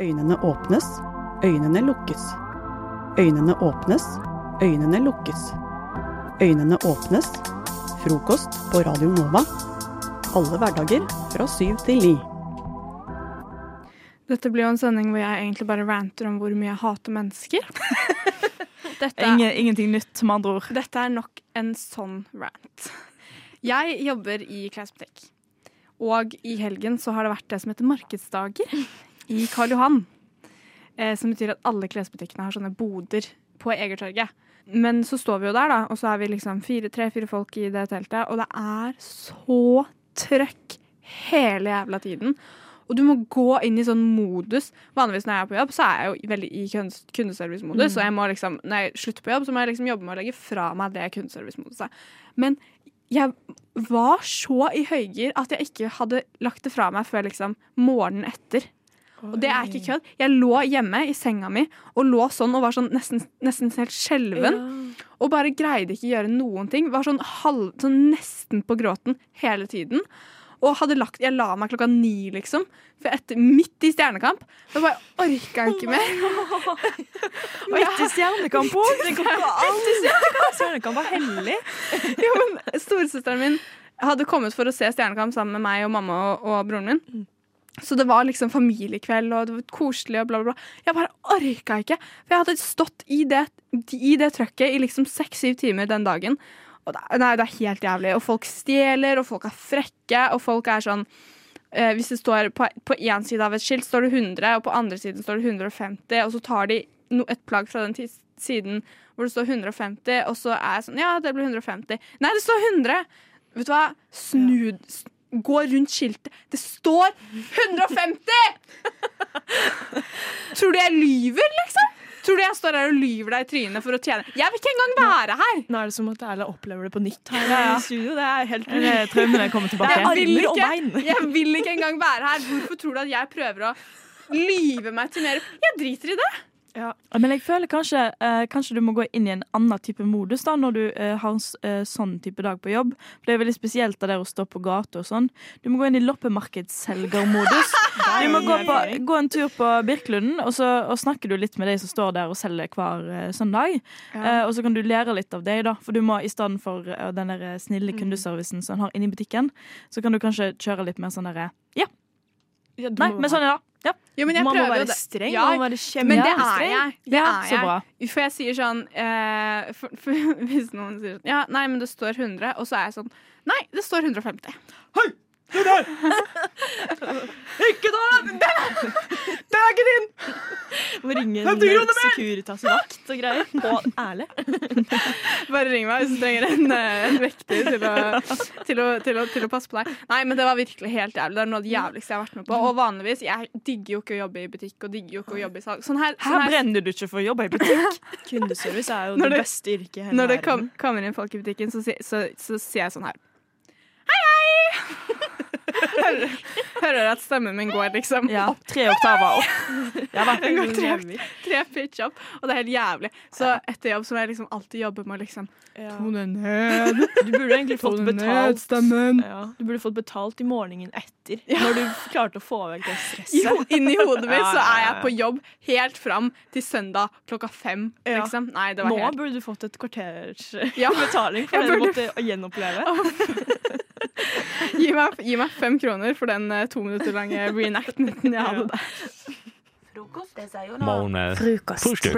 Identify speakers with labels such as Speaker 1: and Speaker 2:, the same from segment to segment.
Speaker 1: Øynene åpnes, øynene lukkes. Øynene åpnes, øynene lukkes. Øynene åpnes. Frokost på Radio Nova. Alle hverdager fra syv til ni.
Speaker 2: Dette blir jo en sending hvor jeg egentlig bare ranter om hvor mye jeg hater mennesker. Dette,
Speaker 3: Ingen, ingenting nytt, med andre ord.
Speaker 2: dette er nok en sånn rant. Jeg jobber i klesbutikk, og i helgen så har det vært det som heter markedsdager i Karl Johan. Eh, som betyr at alle klesbutikkene har sånne boder på Egertorget. Men så står vi jo der, da, og så er vi liksom tre-fire folk i det teltet, og det er så trøkk hele jævla tiden. Og du må gå inn i sånn modus. Vanligvis når jeg er på jobb, så er jeg jo veldig i kundes- kundeservice-modus. Og jeg må liksom, når jeg slutter på jobb, så må jeg liksom jobbe med å legge fra meg det kundeservice-moduset. Men jeg var så i høygir at jeg ikke hadde lagt det fra meg før liksom morgenen etter. Og det er ikke kødd. Jeg lå hjemme i senga mi og lå sånn og var sånn nesten, nesten helt skjelven. Og bare greide ikke gjøre noen ting. Var sånn, halv, sånn nesten på gråten hele tiden. Og hadde lagt, jeg la meg klokka ni, liksom. For etter, midt i Stjernekamp. Da bare orka jeg ikke mer. Og jeg-
Speaker 3: Midt i Stjernekamp òg! Det går ikke an! Stjernekamp var hellig.
Speaker 2: Jo, men storesøsteren min hadde kommet for å se Stjernekamp sammen med meg og mamma og, og broren min. Så det var liksom familiekveld, og det var koselig og bla, bla, bla. Jeg bare orka ikke. For jeg hadde stått i det, i det trøkket i liksom seks-syv timer den dagen. Og det, nei, det er helt jævlig. Og folk stjeler, og folk er frekke, og folk er sånn eh, Hvis det står på én side av et skilt, står det 100, og på andre siden står det 150, og så tar de no, et plagg fra den tis- siden hvor det står 150, og så er jeg sånn Ja, det blir 150. Nei, det står 100! Vet du hva? Snu s- Gå rundt skiltet. Det står 150! Tror du jeg lyver, liksom? Tror du jeg står her og lyver deg i trynet for å tjene Jeg vil ikke engang være her!
Speaker 4: Nå er det som at alle opplever det på nytt her
Speaker 2: Ja.
Speaker 4: i studio. Det er helt
Speaker 3: Det er Traumene kommer
Speaker 2: Jeg
Speaker 3: tilbake.
Speaker 4: armer
Speaker 2: vil
Speaker 4: og
Speaker 2: ikke,
Speaker 4: bein.
Speaker 2: jeg vil ikke engang være her. Hvorfor tror du at jeg prøver å lyve meg til mer Jeg driter i det.
Speaker 3: Men jeg føler kanskje, eh, kanskje du må gå inn i en annen type modus da, når du eh, har en s- eh, sånn type dag på jobb. For Det er veldig spesielt det der å stå på gata og sånn. Du må gå inn i loppemarkedsselgermodus. Du må gå, på, gå en tur på Birkelunden, og så og snakker du litt med de som står der og selger hver eh, søndag. Eh, og så kan du lære litt av deg, da. For du må i stedet for eh, den der eh,
Speaker 2: Mm.
Speaker 3: snille kundeservicen som en har inne i butikken, så kan du kanskje kjøre litt mer sånn derre Ja, nei, men sånn er det. Ja.
Speaker 2: Jo, men jeg
Speaker 4: man må
Speaker 2: prøver jo
Speaker 4: være
Speaker 2: det.
Speaker 4: streng.
Speaker 2: Ja,
Speaker 4: man må være
Speaker 2: Men det
Speaker 4: kjempe-
Speaker 2: er jeg. Det
Speaker 3: Ja,
Speaker 2: er
Speaker 3: så
Speaker 2: jeg.
Speaker 3: bra.
Speaker 2: For jeg sier sånn eh, for, for, Hvis noen sier sånn Ja, nei, men det står 100, og så er jeg sånn Nei, det står 150.
Speaker 4: Må ringe en Securitas-vakt og greier. Og ærlig.
Speaker 2: Bare ring meg hvis du trenger en, eh, en vekter til å, til, å, til, å, til å passe på deg. Nei, men det var virkelig helt jævlig. Det er noe av det jævligste jeg har vært med på. Og vanligvis, jeg digger jo ikke å jobbe i butikk og digger jo ikke å jobbe i salg. Sånn her, sånn
Speaker 3: Her
Speaker 2: her
Speaker 3: brenner du ikke for å jobbe i butikk.
Speaker 4: Kundeservice er jo
Speaker 2: Når
Speaker 4: det
Speaker 2: det-
Speaker 4: beste yrket i hele
Speaker 2: Når det
Speaker 4: verden.
Speaker 2: kom, kommer inn folk i butikken, så, si- så, så sier jeg sånn her. Hei, hei! hører, hører at stemmen min går liksom
Speaker 3: Ja, tre oktaver opp. Ja da.
Speaker 2: Den går tre, tre pitch opp, og det er helt jævlig. Så etter jobb så må jeg liksom alltid jobbe med å liksom
Speaker 4: Ja.
Speaker 2: Tone ned,
Speaker 4: Du burde egentlig fått betalt.
Speaker 2: stemmen.
Speaker 4: Ja. Du burde fått betalt i morgenen etter, når du klarte å få vekk det
Speaker 2: I
Speaker 4: stresset.
Speaker 2: ho inni hodet mitt
Speaker 4: Ja,
Speaker 2: så
Speaker 4: ja,
Speaker 2: er jeg
Speaker 4: ja.
Speaker 2: på jobb helt fram til søndag klokka fem,
Speaker 4: Ja.
Speaker 2: liksom. Nei, det
Speaker 4: Nå
Speaker 2: var helt
Speaker 4: burde du fått et kvarters eh,
Speaker 2: Ja.
Speaker 4: betaling for
Speaker 2: Jeg
Speaker 4: det du
Speaker 2: burde-
Speaker 4: måtte gjenoppleve.
Speaker 2: gi meg, gi meg fem kroner for den eh, to minutter lange reenactmenten jeg hadde der.
Speaker 5: Morgen. Frokost.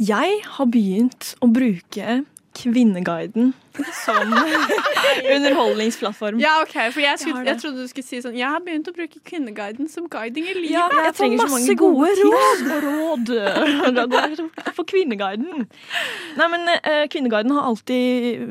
Speaker 4: Jeg har begynt å bruke Kvinneguiden som underholdningsplattform.
Speaker 2: Ja, OK, for jeg, skulle,
Speaker 4: har det.
Speaker 2: jeg trodde du skulle si sånn Jeg har begynt å bruke Kvinneguiden som guiding i livet.
Speaker 4: Ja, jeg,
Speaker 3: jeg får
Speaker 4: trenger så
Speaker 3: masse
Speaker 4: mange gode,
Speaker 3: gode
Speaker 4: tips og råd. Da går jeg for Kvinneguiden. Nei, men eh, Kvinneguiden har alltid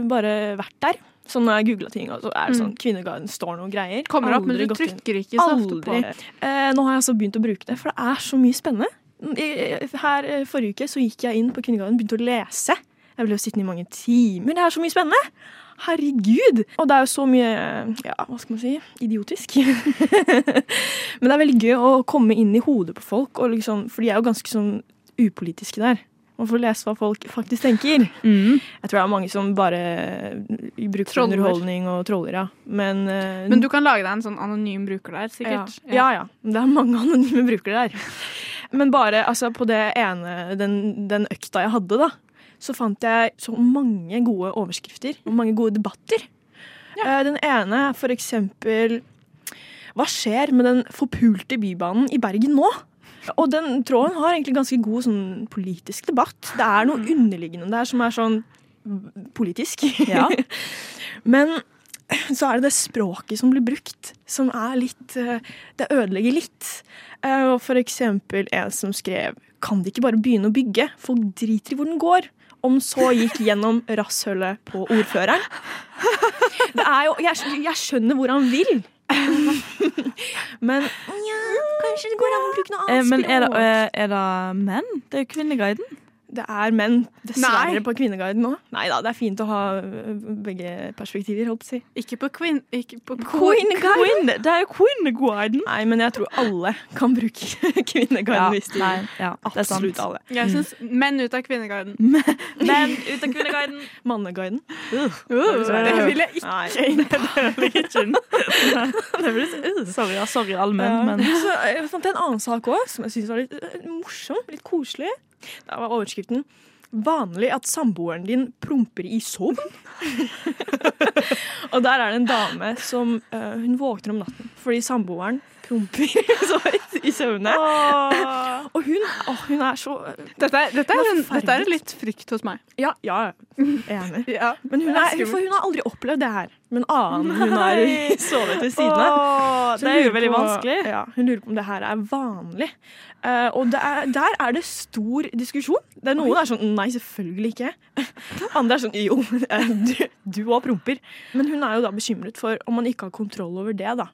Speaker 4: bare vært der. Så når jeg googla ting, og så er det sånn Kvinneguiden står noen greier.
Speaker 2: Kommer opp, men
Speaker 4: Aldri
Speaker 2: du
Speaker 4: gått inn.
Speaker 2: trykker ikke så ofte på.
Speaker 4: Aldri. Eh, nå har jeg altså begynt å bruke det, for det er så mye spennende. I- Her eh, Forrige uke så gikk jeg inn på Kvinneguiden begynte å lese. Jeg ble jo sittende i mange timer. Det er så mye spennende! Herregud! Og det er jo så mye ja, hva skal man si idiotisk. Men det er veldig gøy å komme inn i hodet på folk, og liksom, for de er jo ganske sånn upolitiske der. Man får lese hva folk faktisk tenker.
Speaker 3: Mm.
Speaker 4: Jeg tror det er mange som bare bruker
Speaker 2: Troller.
Speaker 4: underholdning og troller, ja. Men, eh,
Speaker 2: Men du kan lage deg en sånn anonym bruker der, sikkert.
Speaker 4: Ja. ja, ja. Det er mange anonyme brukere der. Men bare altså, på det ene, den, den økta jeg hadde, da, så fant jeg så mange gode overskrifter og mange gode debatter. Eh, Den ene er for eksempel Hva skjer med den forpulte bybanen i Bergen nå? Og den tråden har egentlig ganske god sånn, politisk debatt. Det er noe underliggende der som er sånn politisk.
Speaker 3: Ja.
Speaker 4: Men så er det det språket som blir brukt, som er litt eh, Det ødelegger litt. Eh, Og for eksempel en som skrev Kan de ikke bare begynne å bygge? Folk driter i hvor den går. Om så gikk gjennom rasshølet på ordføreren. Det er jo Jeg, skj- jeg skjønner hvor han vil. Men ja, kanskje det går an å bruke noe
Speaker 3: Eh,
Speaker 4: annet
Speaker 3: Men er det,
Speaker 4: språk.
Speaker 3: eh, er det menn? Det er jo Kvinneguiden.
Speaker 4: Det er menn, dessverre,
Speaker 2: Nei.
Speaker 4: på Kvinneguiden nå. Nei da, det er fint å ha ø, begge perspektiver, holdt på å si.
Speaker 2: Ikke på Queen... Ikke på
Speaker 3: Queen, det er jo Kvinneguiden!
Speaker 4: Nei, men jeg tror alle kan bruke Kvinneguiden hvis de
Speaker 3: nei, ja, det er
Speaker 4: Absolutt
Speaker 3: sant.
Speaker 4: alle.
Speaker 2: Jeg syns menn ut av kvinneguiden.
Speaker 3: Men ut av Kvinneguiden! Uh.
Speaker 4: Manneguiden. Øh,
Speaker 2: det vil jeg ikke.
Speaker 4: Nei.
Speaker 3: Det blir så- uh, Sorry, ja, sorry alle menn,
Speaker 4: Men,
Speaker 3: men
Speaker 4: så jeg fant en annen sak òg som jeg syntes var litt ø, morsom, litt koselig. Der var overskriften 'Vanlig at samboeren din promper i sovn'. Og der er det en dame som ø, hun våkner om natten fordi samboeren promper så vidt i søvne. Og hun, å, hun er så
Speaker 2: Dette er, dette, er en,
Speaker 4: Forferdelig.
Speaker 2: dette er litt frykt hos meg.
Speaker 4: Ja, ja. Enig.
Speaker 2: Ja.
Speaker 4: Men hun,
Speaker 2: Det er
Speaker 4: er, for
Speaker 2: skummelt.
Speaker 4: hun har aldri opplevd det her. Men annen hun har
Speaker 3: Nei.
Speaker 4: sovet ved siden av.
Speaker 3: Åh,
Speaker 4: Så
Speaker 3: Det
Speaker 4: hun
Speaker 3: er jo
Speaker 4: lurer
Speaker 3: veldig
Speaker 4: på-
Speaker 3: vanskelig.
Speaker 4: Ja, hun lurer på om det her er vanlig. Eh, og det er, der er det stor diskusjon. Det er noen er sånn nei, selvfølgelig ikke. Andre er sånn jo, eh, du òg promper. Men hun er jo da bekymret for om man ikke har kontroll over det, da.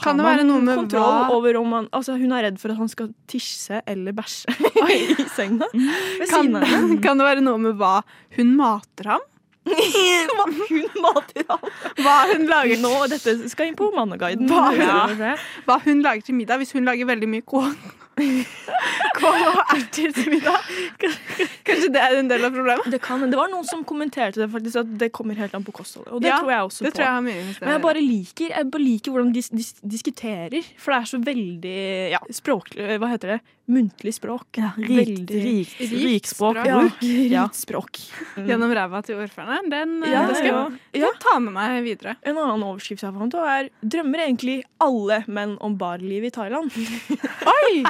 Speaker 4: Har
Speaker 2: Kan det
Speaker 4: man
Speaker 2: være noe med
Speaker 4: kontroll
Speaker 2: hva-
Speaker 4: over om man, altså Hun er redd for at han skal tisse eller bæsje i senga. Ved
Speaker 2: Kan,
Speaker 4: siden av henne.
Speaker 2: kan det være noe med hva hun mater ham?
Speaker 4: Hun mater ham.
Speaker 2: Hva hun lager,
Speaker 4: Nå, dette skal inn på Manneguiden.
Speaker 2: Hva?
Speaker 4: Ja.
Speaker 2: hva hun lager til middag? Hvis hun lager veldig mye kål Kål og erter til middag? Kanskje kanskje det er en del av problemet?
Speaker 4: Det kan, men det var noen som kommenterte det faktisk, at det kommer helt an på kostholdet. Og det
Speaker 2: Ja,
Speaker 4: tror jeg også
Speaker 2: Det
Speaker 4: på.
Speaker 2: tror jeg har mye med det å
Speaker 4: Men jeg
Speaker 2: gjøre.
Speaker 4: bare liker, jeg bare liker hvordan de dis dis diskuterer, for det er så veldig ja, språklig Hva heter det? Muntlig språk.
Speaker 3: Ja, rikt,
Speaker 4: Veldig-
Speaker 3: rikt,
Speaker 2: Rikt
Speaker 3: rikt
Speaker 4: Ja,
Speaker 3: språkbruk. Ja.
Speaker 4: rikt språk.
Speaker 2: Gjennom ræva til ordføreren. Den, eh,
Speaker 4: Ja,
Speaker 2: det skal
Speaker 4: ja.
Speaker 2: jeg
Speaker 4: Ja.
Speaker 2: ta med meg videre.
Speaker 4: En annen overskrift jeg fant, er 'Drømmer egentlig alle menn om barlivet i Thailand'?
Speaker 2: Oi!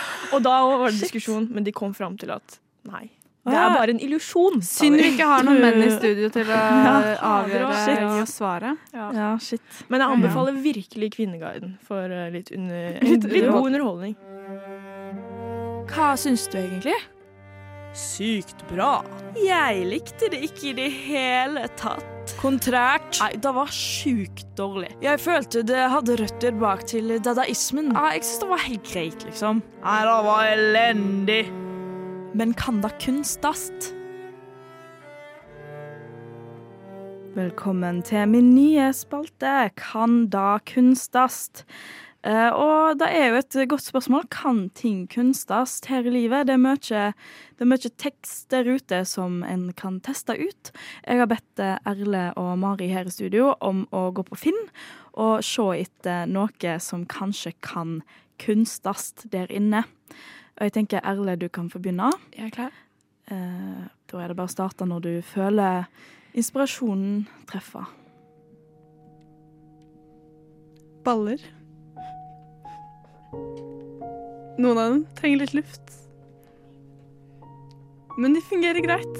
Speaker 4: Og da var det diskusjon, men de kom fram til at nei. Det er
Speaker 3: Ja.
Speaker 4: bare en illusjon. sa
Speaker 2: Synd
Speaker 4: de.
Speaker 2: vi ikke har noen menn i studio til å
Speaker 4: shit.
Speaker 2: avgjøre og svare.
Speaker 3: Ja, shit.
Speaker 4: Men jeg anbefaler virkelig Kvinneguiden for eh, litt, under,
Speaker 2: Litt-
Speaker 4: en
Speaker 2: litt
Speaker 4: god underholdning.
Speaker 3: Hva syns du egentlig? Sykt bra. Jeg likte det ikke i det hele tatt. Kontrært. Nei, det var sjukt dårlig. Jeg følte det hadde røtter bak til dadaismen. Ja, jeg syns det var helt greit, liksom. Nei, det var elendig. Men kan det kunstast? Velkommen til min nye spalte, Kan da kunstast? Eh, og det er jo et godt spørsmål. Kan ting kunstes her i livet? Det er mye, det er mye tekst der ute som en kan teste ut. Jeg har bedt eh, Erle og Mari her i studio om å gå på Finn og se etter noe som kanskje kan kunstes der inne. Og jeg tenker Erle, du kan få begynne.
Speaker 2: Jeg er klar.
Speaker 3: Eh, da er det bare å starte når du føler inspirasjonen treffer.
Speaker 2: Baller. Noen av dem trenger litt luft. Men de fungerer greit.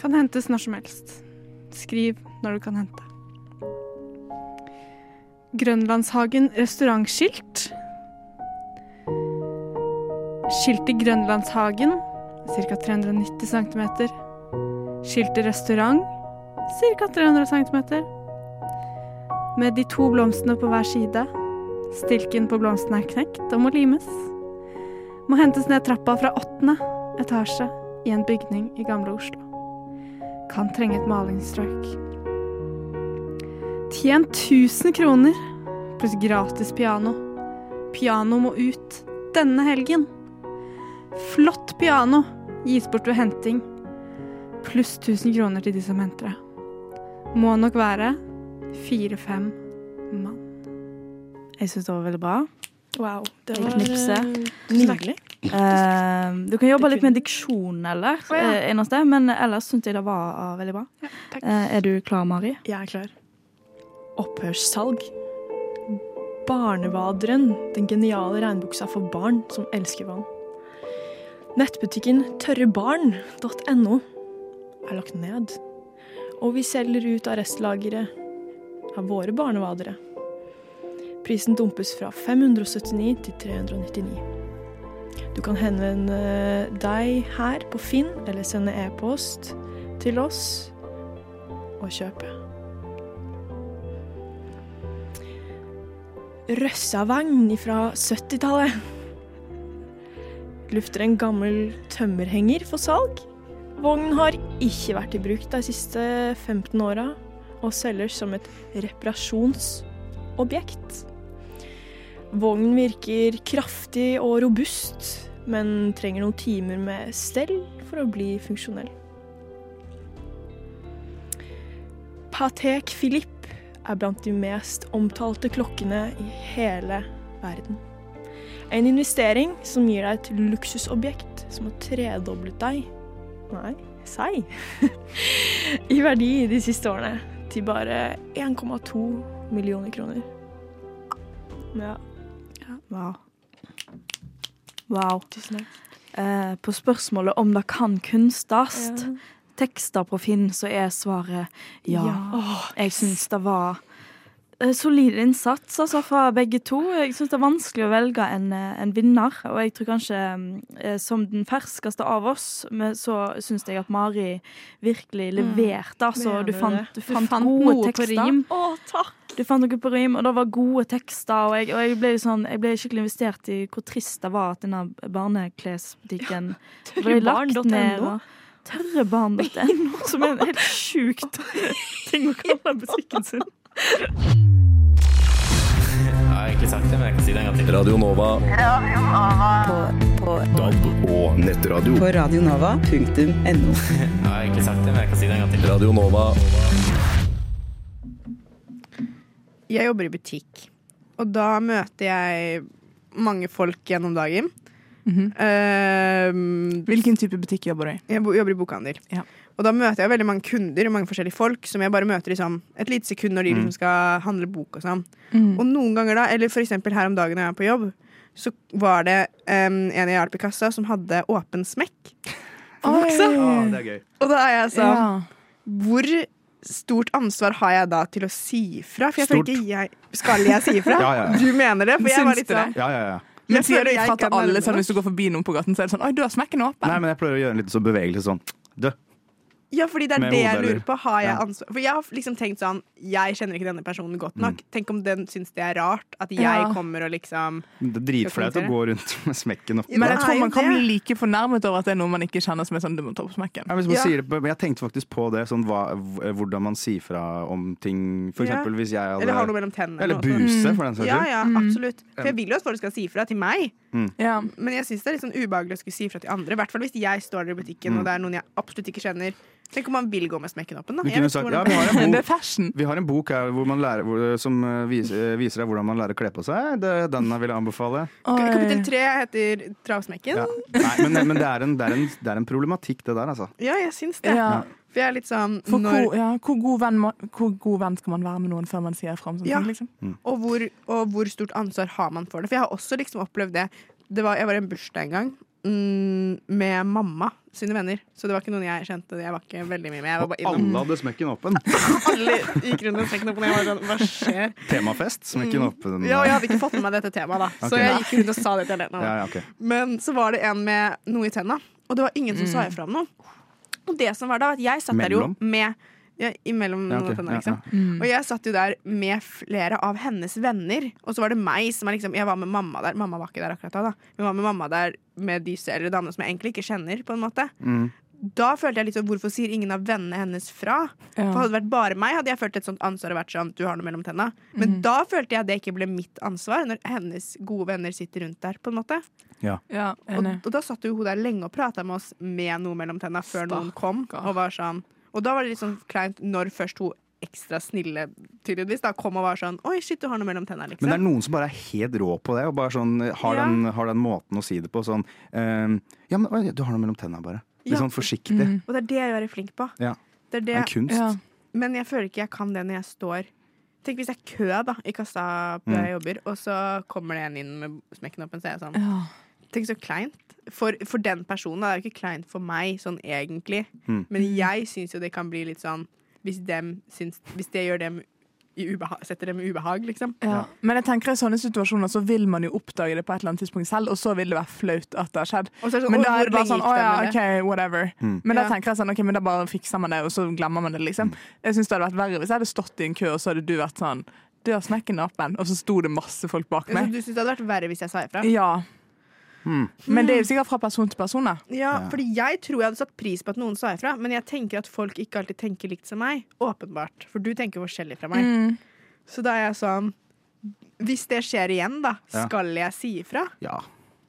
Speaker 2: Kan hentes når som helst. Skriv når du kan hente. Grønlandshagen restaurantskilt. Skilt i Grønlandshagen, ca. 390 cm. Skilt i restaurant, ca. 300 cm. Med de to blomstene på hver side. Stilken på blomstene er knekt og må limes. Må hentes ned trappa fra åttende etasje i en bygning i gamle Oslo. Kan trenge et malingsstrøk. Tjen 1000 kroner pluss gratis piano. Piano må ut denne helgen.
Speaker 6: Flott piano gis bort ved henting. Pluss 1000 kroner til de som henter det. Må nok være fire-fem mann.
Speaker 3: Jeg syns det var veldig bra.
Speaker 4: Wow. Det
Speaker 3: Et
Speaker 4: var
Speaker 3: knipse.
Speaker 4: eh, nydelig.
Speaker 3: Eh, du kan jobbe
Speaker 4: Det
Speaker 3: litt med diksjonen eller,
Speaker 6: Å, ja.
Speaker 3: eh, eneste, men ellers syns jeg det var eh, veldig bra. Eh, er du klar, Mari?
Speaker 4: Jeg er klar. Opphørssalg. Barnevaderen, den geniale regnbuksa for barn som elsker vann. Nettbutikken tørrebarn.no er lagt ned. Og vi selger ut av restlageret av våre barnevadere. Prisen dumpes fra 579 til 399. Du kan henvende deg her på Finn eller sende e-post til oss og kjøpe. Røssavagn fra 70-tallet. Lufter en gammel tømmerhenger for salg. Vognen har ikke vært i bruk de siste 15 åra, og selges som et reparasjonsobjekt. Vognen virker kraftig og robust, men trenger noen timer med stell for å bli funksjonell. Patek Philippe er blant de mest omtalte klokkene i hele verden. En investering som gir deg et luksusobjekt som har tredoblet deg Nei, seg i verdi de siste årene til bare 1,2 millioner kroner. Ja,
Speaker 3: Wow. Wow.
Speaker 4: tusen takk.
Speaker 3: Eh, på spørsmålet om det kan kunstast,
Speaker 4: Ja.
Speaker 3: tekster på Finn, så er svaret ja.
Speaker 6: Ja.
Speaker 4: Åh,
Speaker 3: Jeg syns det var eh, solid innsats altså, fra begge to. Jeg syns det er vanskelig å velge en, eh, en vinner. Og jeg tror kanskje, mm, eh, som den ferskeste av oss, men så syns jeg at Mari virkelig leverte. Altså,
Speaker 4: Mener
Speaker 3: du
Speaker 4: du
Speaker 3: fant,
Speaker 4: det?
Speaker 3: du
Speaker 6: Du
Speaker 3: fant, gode
Speaker 6: noe
Speaker 3: tekster.
Speaker 6: på rim.
Speaker 4: Åh, takk!
Speaker 3: Du fant noe på rim, og det var gode tekster. Og jeg, og jeg, ble, litt sånn, jeg ble skikkelig investert i hvor trist det var at denne barneklesbutikken ble lagt ned.
Speaker 4: Tørrebarn.no.
Speaker 3: og- Tørrebarn.no, som er en helt sjukt ting å kalle butikken sin.
Speaker 7: Jeg har egentlig sagt det, men jeg kan si det en gang til.
Speaker 8: Radio Nova.
Speaker 9: DAB og nettradio.
Speaker 10: på radionova.no.
Speaker 7: Jeg har egentlig sagt det, men jeg kan si det en gang til.
Speaker 8: Radio Nova.
Speaker 11: Jeg jobber i butikk, og da møter jeg mange folk gjennom dagen. Eh,
Speaker 12: Mhm. Hvilken type butikk jobber du i?
Speaker 11: Jeg bo- jobber i bokhandel.
Speaker 12: Ja.
Speaker 11: Og da møter jeg veldig mange kunder og mange forskjellige folk som jeg bare møter i sånn et lite sekund
Speaker 9: Mm.
Speaker 11: når de liksom skal handle bok og sånn.
Speaker 12: Mm.
Speaker 11: Og noen ganger da, eller for eksempel her om dagen når jeg er på jobb, så var det em, en jeg hjalp i kassa som hadde åpen smekk. for buksa.
Speaker 9: Ah, det er gøy.
Speaker 11: Og da er jeg sånn Hvor stort ansvar har jeg da til å si ifra? For jeg føler
Speaker 9: Stort.
Speaker 11: ikke jeg Skal jeg si ifra?
Speaker 9: Ja, ja, ja.
Speaker 11: Du mener det? For jeg var
Speaker 12: Syns
Speaker 11: litt
Speaker 12: du
Speaker 11: sånn
Speaker 9: Ja, ja, ja.
Speaker 12: Men
Speaker 11: Jeg
Speaker 12: sier
Speaker 11: føler
Speaker 12: du
Speaker 11: jeg
Speaker 12: ifra
Speaker 11: ikke
Speaker 12: til
Speaker 11: er
Speaker 12: alle,
Speaker 11: nærme
Speaker 12: sånn
Speaker 11: nok.
Speaker 12: hvis du går forbi noen på gaten, så er det sånn Oi, du har smekken åpen.
Speaker 9: Nei, men jeg prøver å gjøre en liten sånn bevegelse sånn. Dø.
Speaker 11: Ja, fordi det er
Speaker 9: Med
Speaker 11: det
Speaker 9: hodet,
Speaker 11: jeg lurer
Speaker 9: eller?
Speaker 11: på. Har jeg
Speaker 9: Ja.
Speaker 11: ansvar? For jeg har liksom tenkt sånn Jeg kjenner ikke denne personen godt
Speaker 9: Mm.
Speaker 11: nok. Tenk om den syns det er rart at jeg
Speaker 12: Ja.
Speaker 11: kommer og liksom
Speaker 9: Det er dritflaut å gå rundt med smekken oppe.
Speaker 11: Ja, det
Speaker 12: Men jeg
Speaker 11: er
Speaker 12: tror
Speaker 11: jo
Speaker 12: man kan
Speaker 11: det.
Speaker 12: bli like fornærmet over at det er noe man ikke kjenner som er sånn du må ta på smekken.
Speaker 9: Ja, hvis man
Speaker 11: Ja.
Speaker 9: sier det, på- men jeg tenkte faktisk på det, sånn, hva, hvordan man sier fra om ting. For
Speaker 11: Ja.
Speaker 9: eksempel hvis jeg hadde
Speaker 11: Eller har noe mellom tennene.
Speaker 9: Eller
Speaker 11: og sånn.
Speaker 9: buse, for den saks
Speaker 11: Ja,
Speaker 9: skyld.
Speaker 12: Mm.
Speaker 11: ja, absolutt. For jeg vil jo at folk skal si fra til meg,
Speaker 12: Ja.
Speaker 11: men jeg syns det er litt sånn ubehagelig å skulle si fra til andre. I hvert fall hvis jeg står der i butikken
Speaker 9: Mm.
Speaker 11: og det er noen jeg absolutt ikke kjenner. Tenk om man vil gå med smekken opp en, da.
Speaker 9: Du
Speaker 11: Jeg
Speaker 9: kunne
Speaker 11: vet ikke
Speaker 9: sagt ja,
Speaker 11: hvordan-
Speaker 9: vi har en bok.
Speaker 12: Det er fashion.
Speaker 9: Vi har en bok her hvor man lærer, hvor, som eh, vis, eh, viser deg hvordan man lærer å kle på seg. Det, den vil jeg anbefale.
Speaker 11: Kapittel tre heter Travsmekken.
Speaker 9: Ja. Nei, men, men det, er en, det, er en, det er en problematikk, det der, altså.
Speaker 11: Ja, jeg syns det.
Speaker 12: Ja.
Speaker 11: For jeg er litt sånn
Speaker 12: For
Speaker 11: når,
Speaker 12: hvor, ja, hvor, god venn må, hvor god venn skal man være med noen før man sier fra om sånne
Speaker 11: Ja.
Speaker 12: ting? Liksom?
Speaker 11: og, hvor, og hvor stort ansvar har man for det? For jeg har også liksom opplevd det. det var, jeg var i en bursdag en gang mm, med mamma sine venner. Så det var ikke noen jeg kjente. Jeg var ikke veldig mye med. Jeg var
Speaker 9: Og
Speaker 11: bare innom.
Speaker 9: alle hadde smekken åpen.
Speaker 11: Alle gikk rundt og snakket opp, og jeg var sånn, hva skjer?
Speaker 9: Temafest, smekken åpen.
Speaker 11: Mm. Ja, og jeg hadde ikke fått med meg dette temaet, da. Så
Speaker 9: Ok.
Speaker 11: jeg gikk rundt og sa det til Helena. da.
Speaker 9: Ja, ja, ok.
Speaker 11: Men så var det en med noe i tenna, og det var ingen som sa ifra om noe. Og det som var da, var at jeg satt der
Speaker 9: Mellom?
Speaker 11: jo med ja, Imellom
Speaker 9: Ja, ok.
Speaker 11: noen tenner,
Speaker 9: Ja,
Speaker 11: liksom. Og jeg satt jo der med flere av hennes venner, og så var det meg som er liksom Jeg var med mamma der.
Speaker 9: Mm.
Speaker 11: Mamma var ikke der akkurat da, da. Hun var med mamma der med disse eldre damene som jeg egentlig ikke kjenner, på en måte. da følte jeg litt sånn Hvorfor sier ingen av vennene hennes fra? For
Speaker 12: Ja.
Speaker 11: Hadde det vært bare meg, hadde jeg følt et sånt ansvar og vært sånn Du har noe mellom tenna. Men da følte jeg det ikke ble mitt ansvar, når hennes gode venner sitter rundt der. på en måte
Speaker 12: Ja,
Speaker 11: Og,
Speaker 12: enig.
Speaker 11: og da satt jo hun der lenge og prata med oss med noe mellom tenna før noen kom.
Speaker 12: Stakkar.
Speaker 11: Og var sånn Og da var det litt sånn kleint når først hun ekstra snille tydeligvis da kom og var sånn Oi, shit, du har noe mellom tenna, liksom.
Speaker 9: Men det er noen som bare er helt rå på det, og bare sånn, har,
Speaker 11: Ja.
Speaker 9: den, har den måten å si det på. Sånn ehm, Ja, men oi, du har noe mellom tenna, bare. Litt
Speaker 11: Ja. Mm.
Speaker 9: sånn forsiktig.
Speaker 11: Og det er det jeg vil være flink på.
Speaker 9: Ja.
Speaker 11: Det er
Speaker 9: Det
Speaker 11: det.
Speaker 9: er kunst.
Speaker 12: Ja.
Speaker 11: Men jeg føler ikke jeg kan det når jeg står Tenk hvis det er kø da, i kassa på der jeg jobber, og så kommer det en inn med smekken opp, og så er jeg sånn
Speaker 12: Ja.
Speaker 11: Tenk så kleint. For, for den personen. da. Det er jo ikke kleint for meg, sånn egentlig.
Speaker 9: Mm.
Speaker 11: Men jeg syns jo det kan bli litt sånn Hvis, dem syns, hvis det gjør dem i ubehag, setter dem i ubehag, liksom.
Speaker 12: Ja. Men jeg tenker i sånne situasjoner så vil man jo oppdage det på et eller annet tidspunkt selv, og så vil det være flaut at det har skjedd.
Speaker 11: Og så er det sånn,
Speaker 12: Men
Speaker 11: «Å,
Speaker 12: da
Speaker 11: hvor
Speaker 12: er det bare
Speaker 11: lenge
Speaker 12: sånn,
Speaker 11: gikk
Speaker 12: å
Speaker 11: det
Speaker 12: ja,
Speaker 11: med det?»
Speaker 12: OK, whatever.
Speaker 9: Mm.
Speaker 12: Men da
Speaker 11: Ja.
Speaker 12: tenker jeg sånn, ok, men da bare fikser man det, og så glemmer man det, liksom. Jeg synes det hadde vært verre hvis jeg hadde stått i en kø, og så hadde du vært sånn Du har smekken åpen, og så sto det masse folk bak
Speaker 11: Altså,
Speaker 12: meg.
Speaker 11: du syns det hadde vært verre hvis jeg sa ifra?
Speaker 12: Ja.
Speaker 9: Mm.
Speaker 12: Men det er jo sikkert fra person til person, da.
Speaker 11: Ja,
Speaker 9: Ja.
Speaker 11: fordi jeg tror jeg hadde satt pris på at noen sa ifra, men jeg tenker at folk ikke alltid tenker likt som meg. Åpenbart. For du tenker forskjellig fra meg. Så da er jeg sånn Hvis det skjer igjen, da,
Speaker 9: Ja.
Speaker 11: skal jeg si ifra?
Speaker 9: Ja.